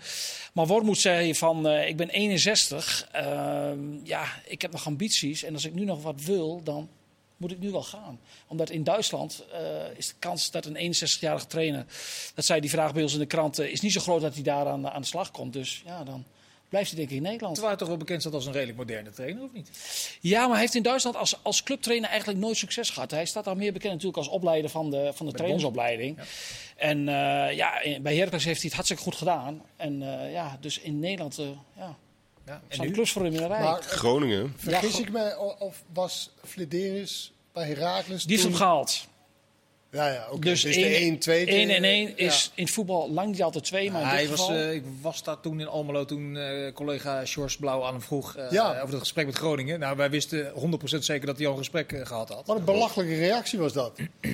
Maar Wormoed zei van eh, ik ben 61, ehm, ja, ik heb nog ambities. En als ik nu nog wat wil, dan moet ik nu wel gaan. Omdat in Duitsland eh, is de kans dat een 61-jarige trainer, dat zei die vraag bij ons in de krant, eh, is niet zo groot dat hij daar aan, aan de slag komt. Dus ja, dan blijft hij denk ik in Nederland.
Terwijl hij toch wel bekend staat als een redelijk moderne trainer, of niet?
Ja, maar hij heeft in Duitsland als, als clubtrainer eigenlijk nooit succes gehad. Hij staat daar meer bekend natuurlijk als opleider van de, van de trainersopleiding. En eh, ja, in- bij Heracles heeft hij het hartstikke goed gedaan. En eh, ja, dus in Nederland eh ja,
Ja, en
staan de
nu?
clubs voor hem in de rij.
Maar eh,
Groningen.
vergis
Ja,
ik me, o- of was Flederis bij Herakles
die heeft hem gehaald.
Ja, ja, oké.
Dus,
Dus,
één-
de 1 2
één en 1 is in het voetbal lang niet altijd 2, maar in
hij
dit
was,
geval...
eh, ik was daar toen in Almelo toen eh, collega George Blauw aan hem vroeg eh,
Ja.
over dat gesprek met Groningen. Nou, wij wisten 100% zeker dat hij al een gesprek eh, gehad had.
Wat een belachelijke reactie was dat.
Ja,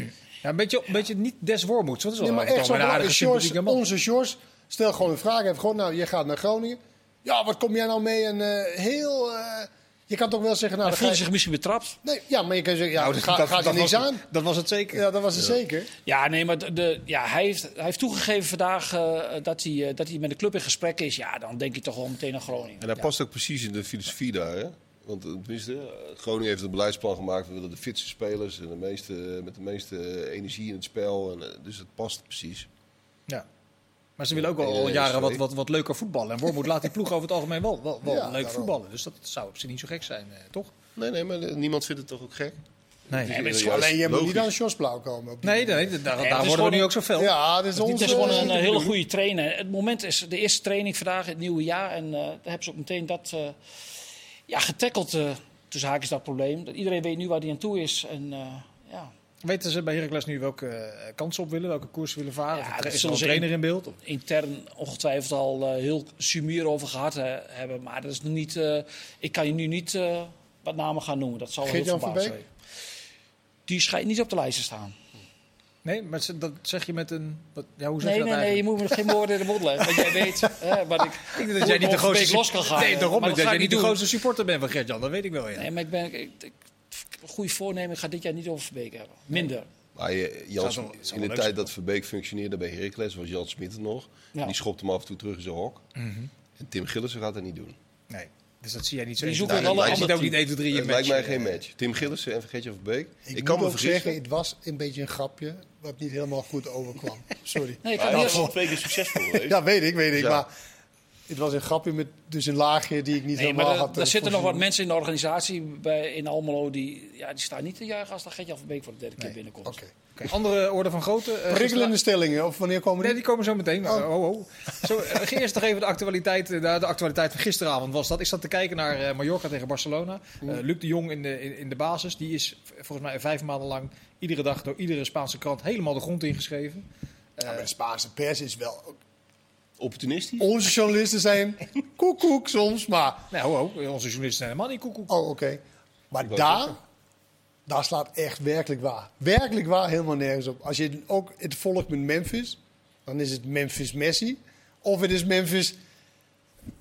een beetje, een beetje niet des Wormoeds. want Dat is
Nee,
wel
maar echt zo
een aardige
belangrijk.
sympathieke
George,
man.
onze George, stel gewoon een vraag. Heeft gewoon, nou, je gaat naar Groningen. Ja, wat kom jij nou mee? En eh, heel, eh, je kan toch wel zeggen, nou, dan
hij
ga
voelde
je-
zich misschien betrapt.
nee, ja, maar je kan zeggen, ja,
Nou, dat-
ga,
dat-
gaat
dat
er niks
was-
aan.
Dat was het zeker.
Ja, dat was het zeker.
Ja, nee, maar de, de- ja, hij, heeft, hij heeft toegegeven vandaag eh, dat, hij, eh, dat hij met de club in gesprek is. Ja, dan denk je toch wel meteen aan Groningen.
En dat past ook precies in de filosofie daar, hè? Want eh, tenminste, eh, Groningen heeft het beleidsplan gemaakt. We willen de fitste spelers en de meeste, eh, met de meeste energie in het spel. En, eh, dus het past precies.
Ja. Maar ze willen ook al,
Ja,
al
Eh,
jaren wat,
sorry.
wat, wat leuker voetballen. En Wormoed laat die ploeg over het algemeen wel, wel, wel
Ja,
leuk
daarom.
voetballen. Dus dat zou op zich niet zo gek zijn, eh, toch?
Nee, nee, maar eh, niemand vindt het toch ook gek?
Nee,
maar het is
Ja,
Alleen, je moet
logisch.
niet aan George Blauw komen. op die-
nee, nee, daar, daar
is
worden
gewoon
we nu
een-
ook zoveel.
Ja, dat is
Het
onze...
is gewoon een eh, hele goede trainer. Het moment is de eerste training vandaag, het nieuwe jaar. En eh, daar hebben ze ook meteen dat eh ja, getackeld. eh tussen haakjes dat probleem. Dat Iedereen weet nu waar hij aan toe is. En, eh, ja.
Weten ze bij Heracles nu welke eh, kansen op willen, welke koers ze willen varen?
Ja,
Of
dat
er is er
zullen
een
ze
trainer in beeld? Of-
Intern ongetwijfeld al eh, heel sumier over gehad eh, hebben. Maar dat is nog niet, eh, ik kan je nu niet eh, wat namen gaan noemen. Dat zal wel heel
Geert-Jan
verbaasd
Verbeek?
zijn. Die schijnt niet op de lijst te staan.
Nee, maar ze- dat zeg je met een... Wat, ja, hoe zeg
Nee,
je
nee,
dat
nee, je
eigenlijk?
moet me geen woorden in de mond leggen. Want jij weet hè, wat ik.
Ik denk dat jij niet de grootste...
los kan gaan.
Nee, daarom niet.
Maar dat
Dat jij
ga
niet
ik niet
de
doen.
grootste supporter bent van Gert-Jan. Dat weet ik wel, ja.
Nee, maar ik ben. Ik, ik, ik- goede voornemen, ik ga dit jaar niet over Verbeek hebben. Minder.
Maar eh, Jan,
Zou wel- zou wel
in de
leuk
tijd
zijn.
dat Verbeek functioneerde bij Heracles was Jan Smit er nog.
Ja.
Die schopte hem af en toe terug in zijn hok. En Tim Gillissen gaat dat niet doen.
Nee. Dus dat zie jij niet zo.
Die
even-
zoeken
Nou,
wel
je
een
ziet
ander
ook niet 1, 2, 3
Het
in
lijkt mij
match.
geen match. eh, Tim Gillissen en vergeet je Verbeek.
Ik,
Ik, kan
moet
me
ook zeggen,
vergissen.
het was een beetje een grapje wat niet helemaal goed overkwam. Sorry.
Nee, ik
Maar
kan
ja,
niet.
voor-
twee keer succesvol geweest.
Ja, weet ik, weet ik.
Ja.
Maar Het was een grapje met dus een laagje die ik niet
Nee, maar
helemaal
er,
had. eh,
er
eh,
zitten nog wat
mensen.
mensen in de organisatie bij, in Almelo die, ja, die staan niet te juichen als dat Gert-Jan van Beek voor de derde keer binnenkomt.
Oké.
Oké, Andere orde van grootte. eh,
Prikkelende stellingen, of wanneer komen
Nee,
die?
die komen zo meteen. Maar, oh, oh. Zo, eh, eerst nog even de actualiteit. eh, nou, de actualiteit van gisteravond was dat. Ik zat te kijken naar eh, Mallorca tegen Barcelona. Eh, Luc de Jong in de, in, in de basis. Die is v- volgens mij vijf maanden lang iedere dag door iedere Spaanse krant helemaal de grond ingeschreven.
Ja, maar de Spaanse pers is wel...
Opportunistisch?
Onze journalisten *laughs* zijn koekoek soms, maar...
Nou, ho, ho, onze journalisten zijn helemaal niet koekoek.
Oh, oké. Maar
wou
daar, daar slaat echt werkelijk waar. Werkelijk waar helemaal nergens op. Als je ook het volgt met Memphis, dan is het Memphis Messi. Of het is Memphis...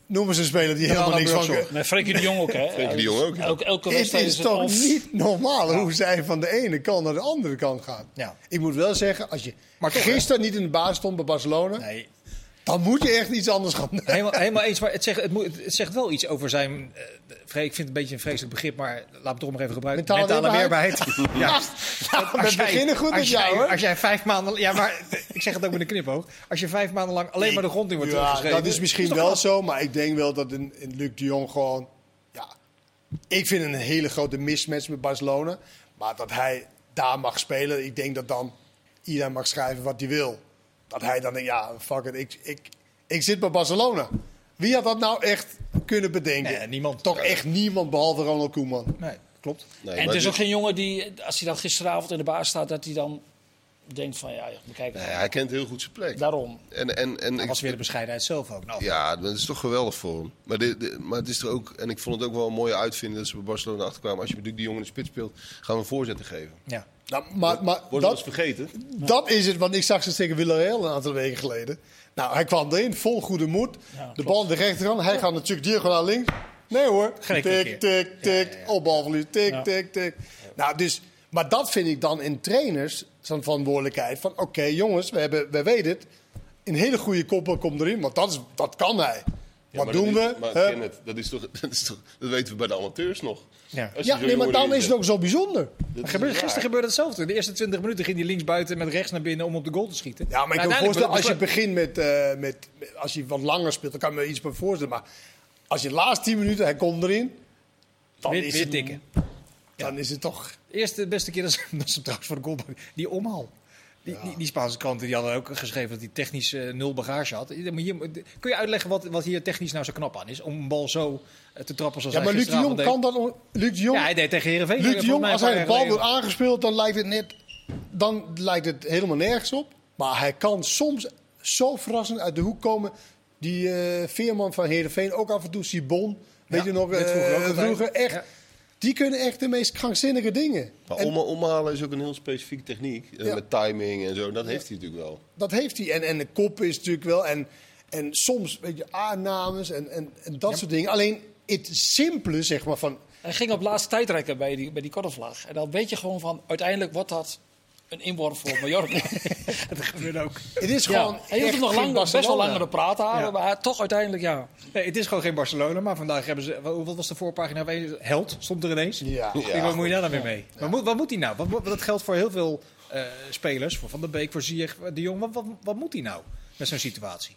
Noem eens een speler die helemaal niks van...
Brooks,
Met Frenkie de Jong ook, hè?
Frenkie de Jong ook, ja.
Elke, elke
Het
wedstrijd
is
het
toch
of-
niet normaal hoe zij van de ene kant naar de andere kant gaan.
Ja.
Ik moet wel zeggen, als je
Maar toch,
gisteren niet in de baas stond bij Barcelona,
Nee,
dan moet je echt iets anders gaan doen.
helemaal, helemaal eens. Maar het zegt, het, moet, het zegt wel iets over zijn. eh, vre- ik vind het een beetje een vreselijk begrip, maar laat me het toch maar even gebruiken.
Mentale weerbaarheid.
*laughs* ja.
Nou, we
jij-
beginnen goed
als
met
jij-
jou, hoor.
Als jij vijf maanden... Ja, maar *laughs* ik zeg het ook met een knipoog. Als je vijf maanden lang alleen maar de grond in wordt
Ja,
teruggeschreven...
dat is misschien
toch
wel
knap?
zo, maar ik denk wel dat een, een Luc de Jong gewoon... Ja, ik vind een hele grote mismatch met Barcelona. Maar dat hij daar mag spelen, ik denk dat dan iedereen mag schrijven wat hij wil. Dat hij dan denkt, ja, fuck it, ik, ik, ik zit bij Barcelona. Wie had dat nou echt kunnen bedenken?
Nee, niemand.
Toch echt niemand, behalve Ronald Koeman.
Nee, klopt.
Nee,
En
maar
het is
dit-
ook geen jongen die, als hij dan gisteravond in de baas staat, dat hij dan denkt van, ja, we kijken.
Nee, hij kent heel goed zijn plek.
Daarom.
En, en, en,
Dat was
ik-
weer de bescheidenheid zelf ook. Nou,
Ja, dat is toch geweldig voor hem. Maar, dit, dit- maar het is er ook, en ik vond het ook wel een mooie uitvinding dat ze bij Barcelona achterkwamen. Als je met Luc de Jong in de spits speelt, gaan we een voorzetten geven.
ja.
Nou, maar, maar
Wordt dat
dat,
eens vergeten?
Dat is het, want ik zag ze tegen Villarreal een aantal weken geleden. Nou, hij kwam erin, vol goede moed. de bal in de rechterhand, hij gaat natuurlijk diagonaal links. Nee hoor,
Geen
tik,
enkele
tik,
keer.
tik, op balverlies, tik,
Ja.
tik, tik. Nou, dus, maar dat vind ik dan in trainers zo'n verantwoordelijkheid. Van oké jongens, we, hebben, we weten het. Een hele goede koppel komt erin, want dat, is, dat kan hij. Wat
maar
doen
dat
we?
Is, maar
Hup.
Kenneth, dat, is toch, *laughs* dat, is toch, dat weten we bij de amateurs nog.
Ja.
Als je zo'n
Ja, nee, maar
jongen
daarom
erin
is het
zet,
ook zo bijzonder.
dat is
Gebeurde,
raar.
gisteren gebeurde hetzelfde. De eerste 20 minuten ging hij links buiten met rechts naar binnen om op de goal te schieten.
Ja, maar ik kan me
uiteindelijk
voorstellen, als je
wordt het
begint met, eh, met, met- Als je wat langer speelt, dan kan ik me iets bij voorstellen. Maar als je de laatste 10 minuten, hij komt erin. Dan,
besluit.
is,
Weer,
het,
weer tikken.
dan is het toch.
Eerst de beste keer dat ze, *laughs* dat ze hem trouwens voor de goal pakten. Die omhaal. Die, die, die Spaanse kranten die hadden ook geschreven dat hij technisch eh, nul bagage had. Maar hier, kun je uitleggen wat, wat hier technisch nou zo knap aan is? Om een bal zo eh, te trappen zoals
Ja, maar
hij
Luc de
gisteravond
Jong
deed.
kan dat. on- Luc de Jong,
Ja, hij deed tegen Heerenveen.
Luc de
volgens
Jong
mij
als
een
hij de
paar
bal
jaar
wordt
geleden.
aangespeeld, dan lijkt het net. Dan lijkt het helemaal nergens op. Maar hij kan soms zo verrassend uit de hoek komen. Die eh, Veerman van Heerenveen, ook af en toe Sibon. Weet
Ja,
je nog,
net
eh,
vroeger ook altijd.
vroeger echt.
Ja.
Die kunnen echt de meest krankzinnige dingen.
Maar
En-
om, omhalen is ook een heel specifieke techniek. Eh,
Ja.
Met timing en zo. Dat heeft hij natuurlijk wel.
dat heeft hij. En, en de kop is natuurlijk wel. En, en soms, weet je, aannames en, en, en dat soort dingen. Alleen het simpele, zeg maar, van.
Hij ging op laatst tijdrekken bij die, bij die korrelvlag. En dan weet je gewoon van, uiteindelijk wordt dat een inworp voor *laughs* Mallorca.
Dat gebeurde ook.
Het is gewoon.
ja. Hij heeft
echt
nog
geen
lang, best wel
Barcelona.
langer de praat houden,
Ja.
maar toch uiteindelijk, ja.
Nee, het is gewoon geen Barcelona, maar vandaag hebben ze... Wat wat was de voorpagina? van één? Held stond er ineens.
Ja.
Ik denk, wat moet je daar dan weer mee? Maar moet, wat moet hij nou? Wat, moet- dat geldt voor heel veel eh, spelers. Voor Van der Beek, voor Ziyech, de Jong. Wat, wat, wat moet hij nou met zo'n situatie?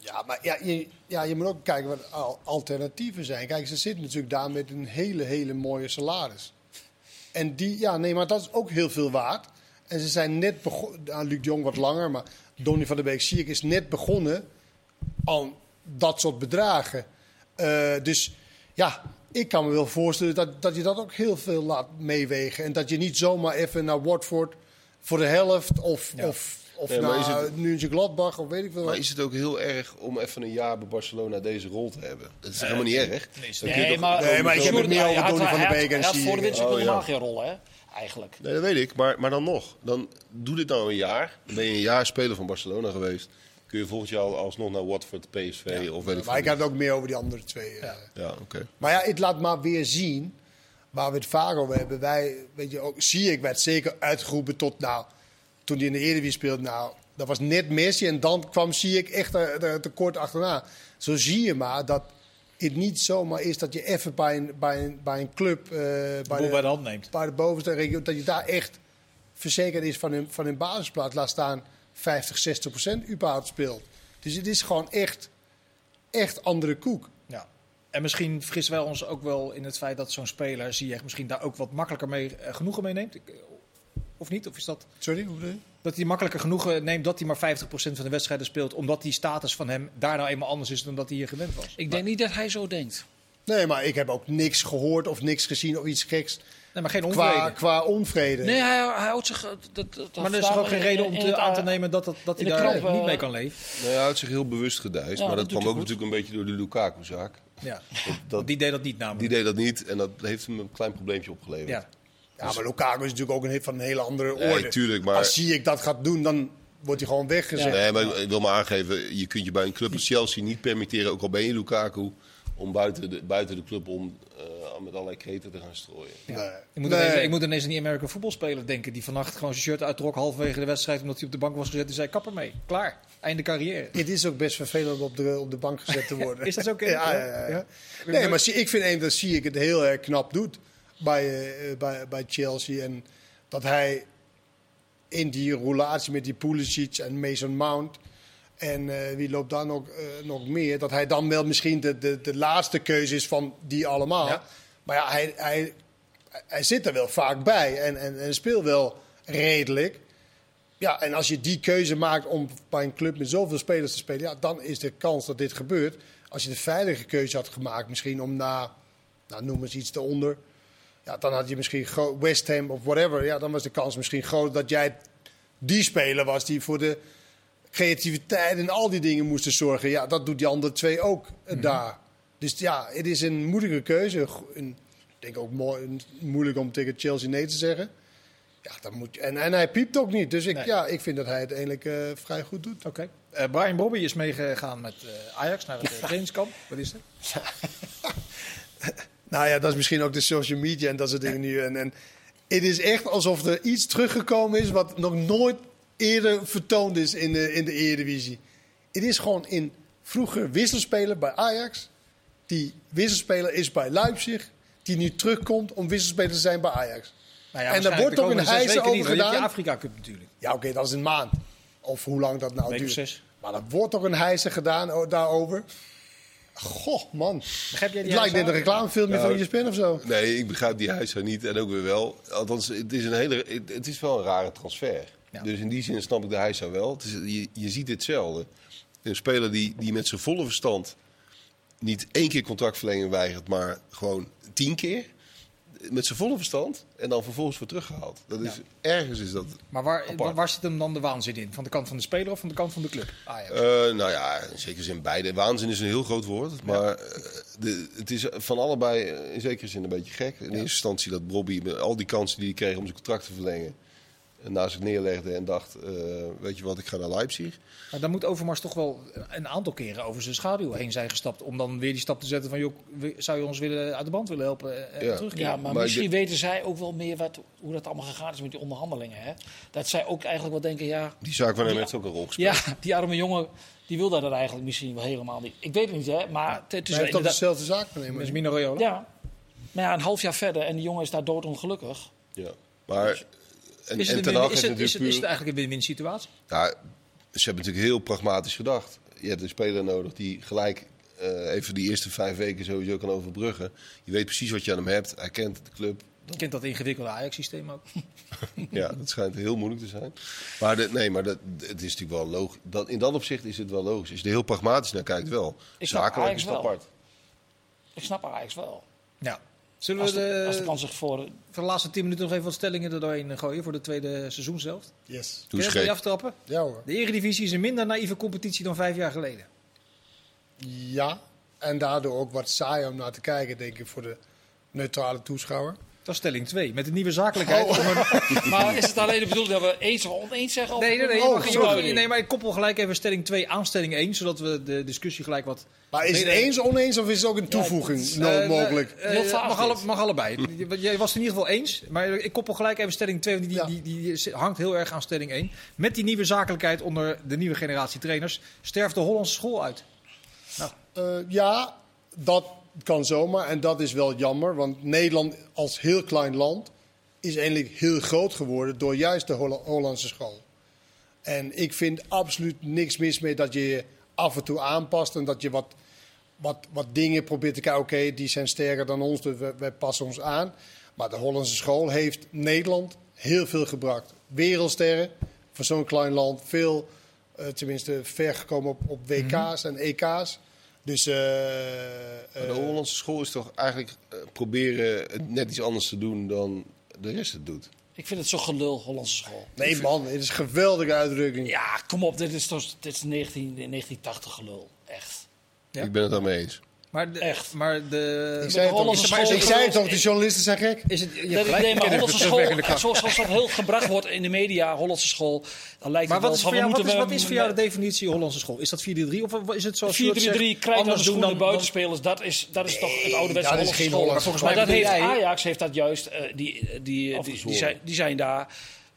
Ja, maar ja, je, ja, je moet ook kijken wat al- alternatieven zijn. Kijk, ze zitten natuurlijk daar met een hele, hele mooie salaris. En die, ja, nee, maar dat is ook heel veel waard. En ze zijn net begonnen, nou, Luc de Jong wat langer, maar Donny van der Beek, zie ik, is net begonnen aan dat soort bedragen. Eh, dus ja, ik kan me wel voorstellen dat, dat je dat ook heel veel laat meewegen. En dat je niet zomaar even naar Watford voor de helft of, of, of
Nee, maar
naar
is
is
het-
Gladbach of weet ik veel wat.
Maar is het ook heel erg om even een jaar bij Barcelona deze rol te hebben? Dat
Eh,
is helemaal niet erg.
nee,
Dan kun je
Nee,
toch-
maar,
Nee, maar ik heb het meer over
Hij had-
Donny van der
hij
Beek en
had- Hij had
Ziyech.
voor de winst
Oh, ja.
helemaal geen rol, hè, eigenlijk.
Nee, dat weet ik. Maar, maar dan nog. Dan doe dit nou een jaar. Dan ben je een jaar speler van Barcelona geweest. Kun je volgend jaar alsnog naar Watford, PSV of weet ik
Maar ik
veel.
had het ook meer over die andere twee. eh.
Ja, oké.
Maar ja, het laat maar weer zien waar we het vaak over hebben. Wij, weet je, ook zie ik werd zeker uitgeroepen tot nou, toen hij in de Eredivisie speelde, nou, dat was net Messi en dan kwam zie ik echt er, er tekort achterna. Zo zie je maar dat het niet zomaar is dat je even bij een, bij een, bij een club, eh,
Hoe
bij,
bij de
de,
hand neemt.
bij de bovenste regio, dat je daar echt verzekerd is van hun, van hun basisplaats. Laat staan 50, 60 procent überhaupt speelt. Dus het is gewoon echt echt andere koek.
Ja. En misschien vergissen wij ons ook wel in het feit dat zo'n speler, zie je, misschien daar ook wat makkelijker mee, eh, genoegen mee neemt. Ik- Of niet? Of is dat
Sorry, hoe bedoel je?
dat hij makkelijker genoegen neemt dat hij maar 50% van de wedstrijden speelt, omdat die status van hem daar nou eenmaal anders is dan dat hij hier gewend was?
Ik denk niet dat hij zo denkt.
Nee, maar ik heb ook niks gehoord of niks gezien of iets geks
Nee, maar geen onvrede.
qua, qua onvrede.
Nee, hij, hij houdt zich. eh, Dat, dat,
maar er is toch ook geen reden om
in
te,
het
aan te
a-
nemen dat, dat, dat hij
in de
daar
krant, eh,
niet mee kan leven.
Nou ja, hij had zich heel bewust gedijst.
Ja,
maar dat,
dat
kwam
doet
ook
hij goed.
natuurlijk een beetje door de Lukaku-zaak.
Ja.
Dat,
Die deed dat niet
die
namelijk.
deed dat niet en dat heeft hem een klein probleempje opgeleverd.
Ja.
Ja, maar Lukaku is natuurlijk ook een, he- van een hele andere
Nee,
orde.
tuurlijk, maar-
Als zie ik dat gaat doen, dan wordt hij gewoon weggezet.
Nee, maar ik wil maar aangeven, je kunt je bij een club als Chelsea niet permitteren, ook al ben je Lukaku, om buiten de, buiten de club om eh, met allerlei kreten te gaan strooien.
Nee.
Ik moet,
Nee.
ineens, ik moet ineens aan die American voetbalspeler denken. Die vannacht gewoon zijn shirt uittrok halverwege de wedstrijd. Omdat hij op de bank was gezet. En zei kapper mee. Klaar. Einde carrière.
*laughs* Het is ook best vervelend om op de, op de bank gezet te
*laughs*
worden.
Is dat zo, Ken?
Ja, ja, ja.
Ja.
Nee, maar zie, ik vind één dat zie ik het heel erg knap doet bij, eh, eh, bij, bij Chelsea. En dat hij in die roulatie met die Pulisic en Mason Mount... En eh, wie loopt daar nog, eh, nog meer? Dat hij dan wel misschien de, de, de laatste keuze is van die allemaal.
Ja.
Maar ja, hij, hij, hij zit er wel vaak bij en, en, en speelt wel redelijk. Ja, en als je die keuze maakt om bij een club met zoveel spelers te spelen, ja, dan is de kans dat dit gebeurt. Als je de veilige keuze had gemaakt, misschien om na, nou, noem eens iets eronder. Ja, dan had je misschien gro- West Ham of whatever. Ja, dan was de kans misschien groot dat jij die speler was die voor de creativiteit en al die dingen moesten zorgen. Ja, dat doet die andere twee ook eh, daar. Dus ja, het is een moeilijke keuze. Go- een- ik denk ook mooi, een- moeilijk om tegen Chelsea nee te zeggen. Ja, dat moet je- en, en hij piept ook niet. Dus ik,
Nee.
ja, ik vind dat hij het eigenlijk eh, vrij goed doet.
Oké. Eh, Brian Bobby is meegegaan met eh, Ajax naar het eh, trainingskamp. Wat is dat?
Nou ja, dat is misschien ook de social media en dat soort dingen nu. En, en het is echt alsof er iets teruggekomen is wat nog nooit eerder vertoond is in de, in de Eredivisie. Het is gewoon in vroeger wisselspeler bij Ajax. Die wisselspeler is bij Leipzig. Die nu terugkomt om wisselspeler te zijn bij Ajax.
Nou
En daar
waarschijnlijk
wordt
de
ook een
komende zes
hijs
weken
over
niet, want je hebt
gedaan.
Die Afrika Cup natuurlijk.
Ja, oké, dat is een maand. Of hoe lang dat nou
Week of
duurt.
zes.
Maar er wordt toch een hijzer gedaan o- daarover. Goh, man.
Begrijp jij
Het
die
lijkt net een
reclame.
reclamefilmje
Nou,
van ESPN of zo.
Nee, ik begrijp die huis zo niet en ook weer wel. Althans, het is, een hele, het, het is wel een rare transfer.
Ja.
Dus in die zin snap ik de huis zo wel. Het is, je, je ziet hetzelfde. Een speler die, die met zijn volle verstand niet één keer contractverlenging weigert, maar gewoon tien keer. Met zijn volle verstand en dan vervolgens wordt teruggehaald. Dat is, Ergens is dat.
Maar waar,
Apart.
waar zit hem dan de waanzin in? Van de kant van de speler of van de kant van de club? Ajax.
eh, nou ja, in zekere zin beide. Waanzin is een heel groot woord. Maar eh, de, het is van allebei eh, in zekere zin een beetje gek. In eerste instantie dat Bobby met al die kansen die hij kreeg om zijn contract te verlengen. eh, naast zich neerlegde en dacht: eh, Weet je wat, ik ga naar Leipzig.
Maar dan moet Overmars toch wel een aantal keren over zijn schaduw heen zijn gestapt. Om dan weer die stap te zetten van, joh, we- zou je ons willen, uit de band willen helpen eh, en
Ja.
terugkeren?
Ja, maar,
Maar
misschien
ik
weten zij ook wel meer wat, hoe dat allemaal gegaan is met die onderhandelingen. Hè? Dat zij ook eigenlijk wel denken, ja,
Die zaak van hem
Ja.
heeft ook een rol gespeeld.
ja, die arme jongen die wil dat er eigenlijk misschien wel helemaal niet. Ik weet het niet, hè, maar
Hij
het is wel
heeft toch
inderdaad-
dezelfde zaak genomen.
Met Mino Raiola?
Ja, maar ja, een half jaar verder en die jongen is daar doodongelukkig.
Ja. Maar. eh, En,
Is
en
het,
Ten
een
Hag
win-
is,
is, het,
natuurlijk
is, het, is het
puur-
eigenlijk een win-win situatie?
Nou, ze hebben natuurlijk heel pragmatisch gedacht. Je hebt een speler nodig die gelijk eh, even die eerste vijf weken sowieso kan overbruggen. Je weet precies wat je aan hem hebt. Hij kent de club.
Je kent dat ingewikkelde Ajax-systeem ook.
Ja, dat schijnt heel moeilijk te zijn. Maar de, nee, maar dat, het is natuurlijk wel logisch. Dat, in dat opzicht is het wel logisch. Als je er heel pragmatisch naar kijkt, wel.
Ik snap
Zakelijk
Ajax
is het
wel.
apart.
Ik snap Ajax wel.
Ja. Zullen we
Als
de,
de, als de kans zich voor...
voor de laatste 10 minuten nog even wat stellingen er doorheen gooien voor de tweede seizoen zelf? Kun
Yes.
je
Doe
dat
scheef.
mee aftrappen?
Ja hoor.
De Eredivisie is een minder naïeve competitie dan vijf jaar geleden.
Ja, en daardoor ook wat saai om naar te kijken, denk ik, voor de neutrale toeschouwer.
Dat is stelling 2. Met de nieuwe zakelijkheid.
Oh. *laughs*
Maar is het alleen de bedoeling dat we eens of oneens zeggen? Of
Nee, nee, nee,
Oh,
maar,
sorry.
nee, nee, maar ik koppel gelijk even stelling 2 aan stelling 1, zodat we de discussie gelijk wat.
Maar is het
Nee, nee.
eens oneens of is het ook een toevoeging no-
Eh,
mogelijk?
eh,
Heel vaag
mag, alle-
dit.
mag allebei. Je- Jij was het in ieder geval eens, maar ik koppel gelijk even stelling 2, want die,
Ja.
die, die, die hangt heel erg aan stelling 1. Met die nieuwe zakelijkheid onder de nieuwe generatie trainers sterft de Hollandse school uit.
Eh, ja, dat kan zomaar. En dat is wel jammer. Want Nederland als heel klein land is eigenlijk heel groot geworden door juist de Holla- Hollandse school. En ik vind absoluut niks mis mee dat je je af en toe aanpast en dat je wat wat, wat dingen probeert te kijken. Oké, die zijn sterker dan ons, dus wij, wij passen ons aan. Maar de Hollandse school heeft Nederland heel veel gebracht. Wereldsterren voor zo'n klein land. Veel, eh, tenminste, ver gekomen op, op WK's
Mhm.
en EK's. Dus eh,
Maar de
eh,
Hollandse school is toch eigenlijk eh, proberen het net iets anders te doen dan de rest het doet.
Ik vind het zo gelul, Hollandse school.
nee man, het is een geweldige uitdrukking.
Ja, kom op, dit is, toch- dit is 19, 1980 gelul. Echt.
Ja.
Ik ben het daarmee eens.
Maar de,
Echt.
Maar de,
Ik zei het
Hollandse
toch,
school-
ik zei het toch, de journalisten zijn gek.
is het, je hebt
Dat ik
gelijk,
neem
ik
maar
ken
Hollandse
het terugwerkende
school,
kracht.
zoals, zoals dat heel gebracht wordt in de media, Hollandse school, dan lijkt
Maar
het wel
wat is,
van,
voor
we
jou, wat,
moeten
is,
wel-
wat is voor jou de definitie Hollandse school? Is dat 4-3 of wat is het zoals Sjoerd zegt,
4-3-3, krijg naar de
anders doen
schoenen
dan-
buitenspelers. Dat is, dat is toch het oude
dat is
Hollandse
geen
school.
Hollandse
Maar volgens
Maar
mij
dat heeft
bedoel jij-
Ajax heeft dat juist. eh, die, die, die, die,
Afgezworen.
zijn, die zijn daar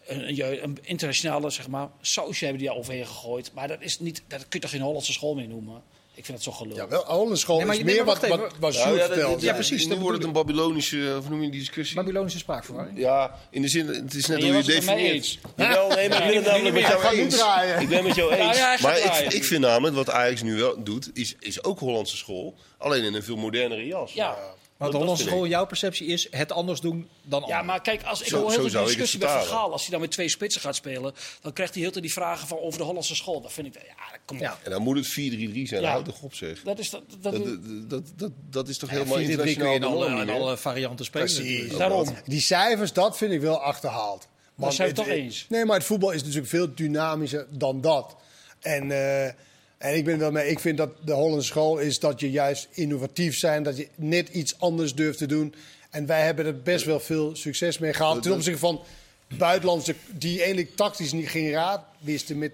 eh, een, een ju- een internationale zeg maar, sausje hebben die daar overheen gegooid. Maar dat, is niet, dat kun je toch geen Hollandse school meer noemen? Ik vind dat zo gelul.
Ja, wel, Hollandse school
Nee, maar
is
je- nee,
meer
maar
wat,
wacht even.
wat, wat
Nou,
Sjoerd
ja, dat-
vertelt.
ja,
ja,
precies.
precies,
Nu
dat
wordt het een Babylonische, eh, of noem je die discussie?
Babylonische spraakverwarring.
Ja, in de zin, het is net hoe
En jij
je
was het met mij
definieert.
eens.
Jawel, nee, maar ik ben het namelijk met jou
nu
eens.
draaien.
Ik ben met
*laughs*
jou
Nou
eens.
ja, hij gaat
Maar ik,
draaien.
ik vind namelijk, wat Ajax nu wel doet, is, is ook Hollandse school. Alleen in een veel modernere jas.
ja.
Maar de
Dat
Hollandse
vind ik.
school, jouw perceptie is het anders doen dan anderen.
Ja, maar kijk, als ik
Zo-
hoor
zo
heel veel
zou ik
discussie
het
bij Van
vertalen.
Gaal, als hij dan met twee spitsen gaat spelen, dan krijgt hij heel veel die vragen van over de Hollandse school. Dat vind ik, ja, kom op.
Ja.
En dan moet het 4-3-3 zijn.
Ja.
Houd toch op, zeg.
Dat is dat, dat,
Dat, dat, dat, dat, dat is toch helemaal
4-3 kun je
internationaal
in
de norm
alle, in
niet, hè?
alle varianten spelen. dus-
Precies.
natuurlijk.
daarom.
Die cijfers, dat vind ik wel achterhaald. Want
zijn we
het-
toch
het-
eens?
Nee, maar het voetbal is natuurlijk veel dynamischer dan dat. En, eh, en ik ben wel mee. Ik vind dat de Hollandse school is dat je juist innovatief zijn, dat je net iets anders durft te doen. En wij hebben er best wel veel succes mee gehad. Ten opzichte van buitenlandse die eigenlijk tactisch niet geen raad wisten met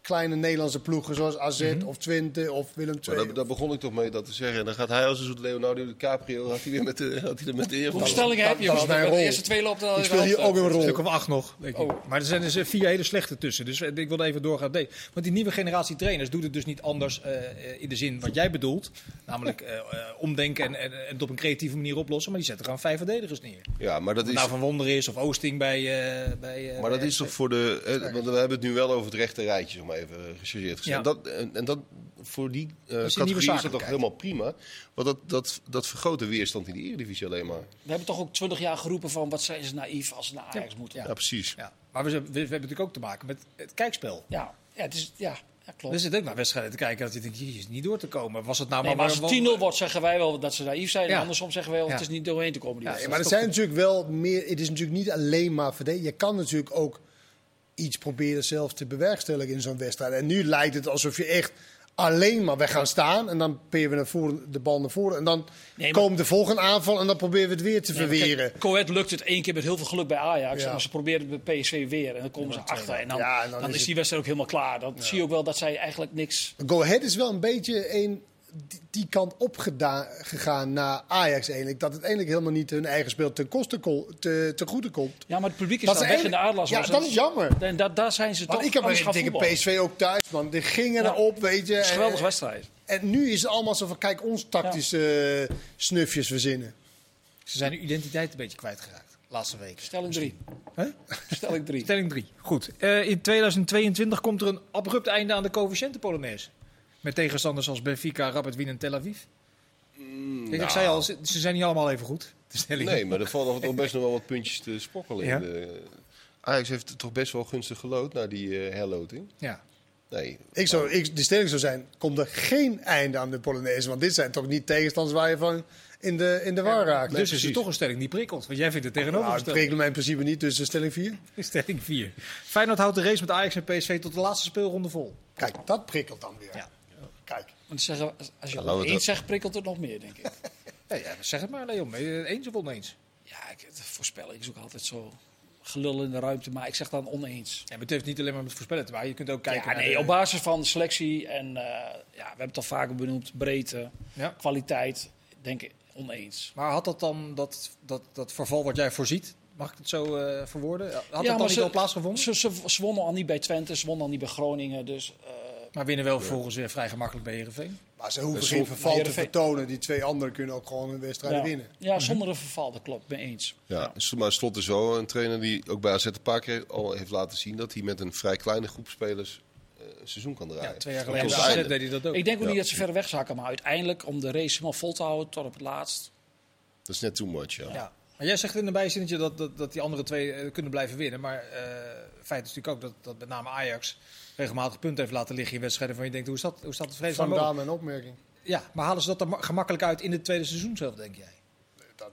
kleine Nederlandse ploegen zoals AZ
Mhm.
of Twente of Willem
Maar
II.
daar, daar begon ik toch mee dat te zeggen. En dan gaat hij als een soort Leonardo DiCaprio gaat hij weer met de, gaat hij er met de eer van.
Hoeveel stellingen heb je?
dat is
Want
mijn
De
rol.
eerste twee loopt al
ik speel hier ook een
Een
rol.
stuk of acht nog. Denk ik. Maar er zijn dus eh, vier hele slechte tussen. Dus eh, ik wilde even doorgaan. Nee, want die nieuwe generatie trainers doet het dus niet anders eh, eh, in de zin wat jij bedoelt. Namelijk eh, eh, omdenken en, en, en het op een creatieve manier oplossen. Maar die zetten gewoon vijf verdedigers neer.
Ja, maar dat is,
Nou, Van Wonder is of Oosting bij... eh, bij eh,
maar dat
bij-
is toch voor de. Hè, want we hebben het nu wel over het rechte rijtje, om even eh, gechargeerd gezegd.
Ja.
Dat, en, en dat voor die eh
nieuwe
categorie is dat toch
zakelijkheid.
helemaal prima. Want dat, dat, dat vergroot de weerstand in de Eredivisie alleen maar.
We hebben toch ook twintig jaar geroepen van wat zijn ze naïef als ze naar Ajax moeten.
Ja,
Ja,
precies.
Ja. Maar we, zijn- we, we hebben natuurlijk ook te maken met het kijkspel.
ja. het is, ja, ja klopt.
Dus-
We zitten ook naar wedstrijden te kijken dat je denkt, hier is niet door te komen. Was het nou
nee, maar
maar...
als het 10-0 wordt, zeggen wij wel dat ze naïef zijn.
Ja.
En andersom zeggen wij wel, het
Ja.
is niet doorheen te komen. Die
Ja,
wedstrijd.
maar er zijn natuurlijk wel meer. Het is natuurlijk niet alleen maar verdedigen. Je kan natuurlijk ook iets proberen zelf te bewerkstelligen in zo'n wedstrijd. En nu lijkt het alsof je echt alleen maar weg gaan staan. En dan peren we naar voren, de bal naar voren. En dan
Nee, maar-
komt de volgende aanval en dan proberen we het weer te
Nee, maar kijk,
verweren.
Coët lukt het één keer met heel veel geluk bij Ajax.
Ja.
Maar ze proberen het bij PSV weer. En dan komen ze achter. En dan,
Ja, en
dan,
dan
is
is
die wedstrijd ook helemaal klaar. Dan zie je ook wel dat zij eigenlijk niks...
Go Ahead is wel een beetje een, die, die kant opgegaan naar Ajax eigenlijk. Dat het eigenlijk helemaal niet hun eigen speel ten koste ko- te, te goede komt.
Ja, maar het publiek is
Dat
dan
is
weg in de
eigenlijk-
aardlas.
ja, dat is jammer.
En da- daar zijn ze
Want
toch
ik heb
anders
een
gaan
dikke
voetballen.
PSV ook thuis, man. Die gingen
Ja.
erop, weet je.
Het is een geweldige
En-
wedstrijd.
En nu is het allemaal zo van, kijk, ons tactische eh, snufjes verzinnen.
Ze zijn hun identiteit een beetje kwijtgeraakt. Laatste weken.
Stelling drie.
Hè?
Stelling drie.
Stelling 3. Goed. Eh, in 2022 komt er een abrupt einde aan de coëfficiënte Polonaise. Met tegenstanders als Benfica, Rapid Wien en Tel Aviv. Kijk, Ik zei al, ze, ze zijn niet allemaal even goed. De *laughs* stelling.
Nee, maar er vallen nog- nog best nog wel wat puntjes te sprokkelen. in
Ja.
de- Ajax heeft toch best wel gunstig gelood naar die eh, herloting.
Ja.
Nee,
Ik zou, ik, de stelling zou zijn, komt er geen einde aan de Polonaise. Want dit zijn toch niet tegenstanders waar je van in de, in de war raakt.
dus is
precies.
het toch een stelling die prikkelt. Want jij vindt het
nou, het
tegenovergestelde.
prikkelt mij in principe niet, dus eh, stelling 4.
stelling 4. Feyenoord houdt de race met Ajax en PSV tot de laatste speelronde vol.
Kijk, dat prikkelt dan weer.
Ja.
Kijk,
Want zeggen, we- als je
laten we
het
het
eens
wel-
zegt, prikkelt het nog meer, denk ik.
Nee, ja, zeg het maar, Leon. Ben je het Eens of oneens?
Ja, ik, het voorspellen is ook altijd zo gelul in de ruimte. Maar ik zeg dan oneens.
Ja, maar het heeft niet alleen maar met voorspellen te maken. Je kunt ook kijken
ja,
naar
nee,
de-
op basis van selectie en eh, ja, we hebben het al vaker benoemd, breedte,
Ja.
kwaliteit, denk ik oneens.
Maar had dat dan dat, dat, dat verval wat jij voorziet, mag ik het zo eh, verwoorden? Had
maar
dat dan
ze-
niet al plaatsgevonden?
Ze, ze, ze wonnen al niet bij Twente, ze wonnen al niet bij Groningen, dus eh,
Maar winnen wel vervolgens weer vrij gemakkelijk bij Herenveen.
maar ze hoeven geen verval te
Heerenveen-
vertonen. Die twee anderen kunnen ook gewoon hun wedstrijd
ja.
winnen.
ja, zonder een verval, dat klopt, mee eens.
Ja, s- maar Slot is wel een trainer die ook bij AZ een paar keer al heeft laten zien dat hij met een vrij kleine groep spelers eh, seizoen kan draaien.
Ja, twee jaar
Tot
geleden bij
het
AZ
einde.
deed hij dat ook.
Ik denk ook
Ja.
niet dat ze verder wegzakken, maar uiteindelijk om de race helemaal vol te houden tot op het laatst.
Dat is net too much, ja.
Ja. Maar jij zegt in een bijzinnetje dat, dat, dat die andere twee eh, kunnen blijven winnen. Maar eh feit is natuurlijk ook dat, dat met name Ajax regelmatig punten heeft laten liggen in wedstrijden. Van je denkt, hoe is dat, hoe is dat
Van
vreselijk
daar
mogelijk?
mijn opmerking.
Ja, maar halen ze dat dan ma- gemakkelijk uit in het tweede seizoen zelf, denk jij?
Ja,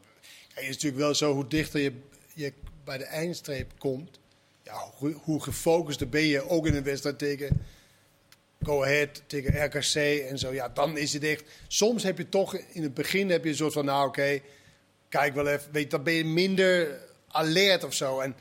het is natuurlijk wel zo, hoe dichter je, je bij de eindstreep komt, ja, hoe, hoe gefocuster ben je ook in een wedstrijd tegen Go Ahead, tegen RKC en zo. Ja, dan is het echt... Soms heb je toch, in het begin heb je een soort van, nou oké, kijk wel even. Weet, je, dan ben je minder alert of zo. En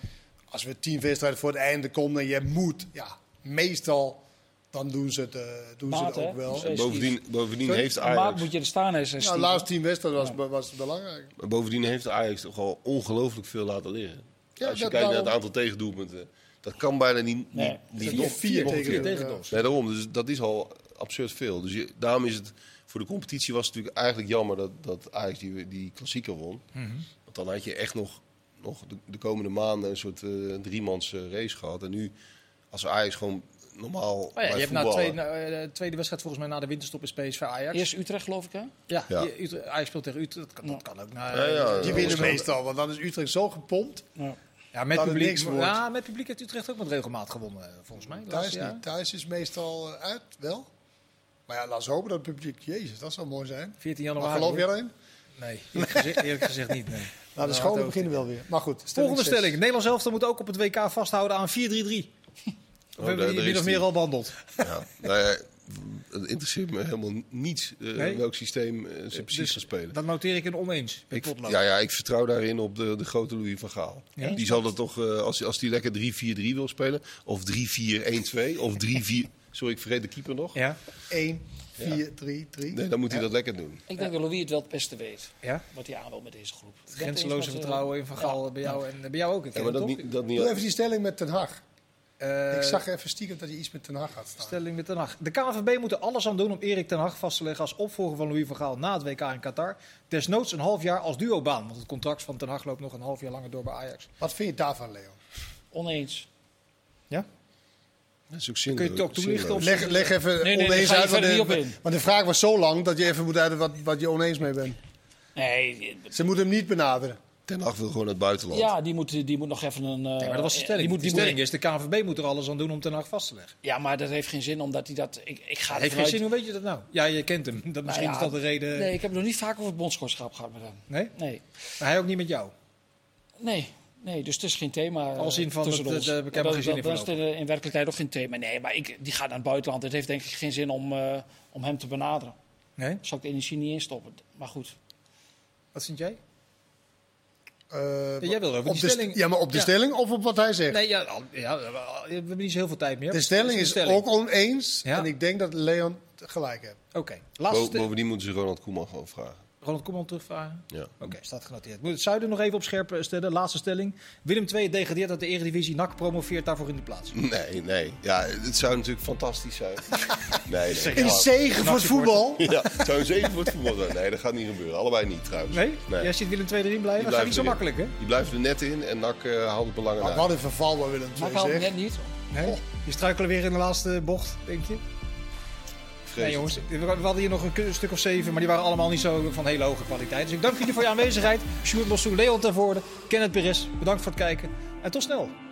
als we tien wedstrijden voor het einde komen en je moet, ja, meestal, dan doen ze het, eh, doen
Maat,
ze het
hè?
ook wel.
Dus-
Bovendien, bovendien
Sorry?
heeft
Maar
Ajax...
moet je er staan is.
Nou, de laatste tien wedstrijden was, was belangrijk.
Maar Bovendien heeft Ajax toch al ongelooflijk veel laten liggen.
Ja,
Als je kijkt
dat
naar
daarom.
het aantal tegendoelpunten. Dat kan bijna niet,
Nee.
niet, niet
Die
nog
vier
nog een
tegen,
keer.
tegen
Tegendoos.
Nee, daarom. Dus dat is al absurd veel. Dus je- daarom is het... Voor de competitie was het natuurlijk eigenlijk jammer dat, dat Ajax die, die klassieker won.
Mhm.
Want dan had je echt nog, nog de, de komende maanden een soort eh driemans eh, race gehad. En nu, als Ajax gewoon normaal
Oh ja, je
blijft
hebt na twee,
voetballen-
na, eh, tweede wedstrijd volgens mij na de winterstop is PSV Ajax.
Eerst Utrecht, geloof ik, hè?
Ja,
Ja.
je- Utrecht- Ajax speelt tegen Utrecht. Dat kan, dat kan ook. eh, na-
Ja, ja,
Die
ja,
winnen
dat is-
meestal, want dan is Utrecht zo gepompt.
Ja, met
Dat het
publiek,
niks wordt.
ja, met publiek heeft Utrecht ook met regelmaat gewonnen, eh, volgens mij.
Thuis
laatste jaar.
niet. Thuis is meestal eh, uit, wel. Maar ja, laat eens hopen dat het publiek... Jezus, dat zou mooi zijn.
14
Maar
januari.
geloof jij daarin?
Nee, eerlijk gezegd, eerlijk gezegd niet.
*laughs*
Nee.
Nou, de
Dat
scholen
houdt
beginnen wel weer. Maar goed.
Volgende
zes.
stelling. Nederland zelf moet ook op het WK vasthouden aan 4-3-3. Of
Oh,
hebben
daar-
we die
daar
min
is
of meer
die.
al behandeld?
Ja, nou ja, het interesseert me helemaal niets eh,
Nee?
welk systeem eh, ze precies
Dus
gaan spelen.
Dat noteer ik een oneens. met
Ik,
potlood.
ja, ja, ik vertrouw daarin op de, de grote Louis van Gaal.
Ja.
Die zal dat toch, eh, als, als die lekker 3-4-3 wil spelen, of 3-4-1-2, of 3-4... Sorry, ik vergeet de keeper nog.
Ja?
1, 4, 3, 3.
Nee, dan moet hij dat lekker doen.
Ik denk dat Louis het wel het beste weet.
ja?
Wat hij aan wil met deze groep.
Het grenzeloze
eh,
vertrouwen in Van Gaal bij jou en eh, bij jou ook. Het
Ja, maar dat niet, dat niet
Doe even die stelling met Ten Hag.
Eh,
Ik zag even stiekem dat hij iets met Ten Hag had staan.
Stelling met Ten Hag. De KNVB moet er alles aan doen om Erik Ten Hag vast te leggen als opvolger van Louis van Gaal na het WK in Qatar. Desnoods een half jaar als duobaan, want het contract van Ten Hag loopt nog een half jaar langer door bij Ajax.
Wat vind je daarvan, Leo?
Oneens.
Ja?
Dat is ook zinloos.
Kun je het ook toelichten
Zinloos.
op-
Leg, leg even
nee, nee,
oneens
daar
uit.
ga
Want
je verder niet op
de,
in.
want de vraag was zo lang dat je even moet uit wat, wat je oneens mee bent.
Nee,
Ze moeten hem niet benaderen.
Ten Hag wil gewoon het buitenland.
ja, die moet, die moet nog even een. eh,
Nee, maar dat was de
Die
stelling.
moet,
Die
die
stelling
moet,
is, de KNVB moet er alles aan doen om Ten Hag vast te leggen.
ja, maar dat heeft geen zin omdat hij dat. Ik, ik ga
Heeft
er
geen
vanuit-
zin, hoe weet je dat nou? Ja, je kent hem. Dat, misschien
Nou
is
ja,
dat de reden.
Nee, ik heb het nog niet vaak over het bondscoachschap gehad met hem.
nee?
Nee.
Maar hij ook niet met jou.
Nee, nee, dus het is geen thema. eh,
Als in van
tussen
het-
ons.
het, eh, ik heb er
Dat-
geen zin
dat-
in
Dat is er eh, in werkelijkheid ook geen thema. Nee, maar ik, die gaat naar het buitenland. Het heeft denk ik geen zin om, eh, om hem te benaderen.
Nee?
Daar zou ik de energie niet instoppen. Maar goed.
Wat vind jij?
Eh,
Ja, jij wil over
op
die
de st-
stelling.
Ja, maar op de
Ja.
stelling of op wat hij zegt?
Nee, ja, al- ja, we hebben niet zo heel veel tijd meer. Dus
De stelling is ook oneens.
Ja.
En ik denk dat Leon gelijk heeft.
Oké,
Bo-
laatste. ste-
Bovendien moeten ze Ronald Koeman gewoon vragen.
Ronald Koeman terugvragen.
Ja.
Oké, staat genoteerd. Moet het Zuiden nog even op scherp eh, stellen? Laatste stelling. Willem II degradeert uit de Eredivisie. NAC promoveert daarvoor in de plaats.
Nee, nee. Ja, het zou natuurlijk fantastisch
*laughs*
zijn. nee, nee.
In
Ja.
zegen voor het voetbal.
Ja, het zou een zeven voor het voetbal zijn. Nee, dat gaat niet gebeuren. Allebei niet trouwens.
Nee? Jij ziet Willem II erin blijven?
Die
Dat gaat niet zo
blijven
makkelijk, hè?
Die blijft er net in en NAC eh, haalt het
Ah,
belangen
Maar
uit.
wat een verval bij Willem
Maar
II,
ik haal het
zeg.
net niet.
Nee? Je struikelen weer in de laatste bocht, denk je? Nee,
Vreselijk.
jongens. We hadden hier nog een ku- stuk of zeven, maar die waren allemaal niet zo van hele hoge kwaliteit. Dus ik dank jullie voor je aanwezigheid. Sjoerd Bossou, Leon Tervoorde, Kenneth Perez. Bedankt voor het kijken en tot snel.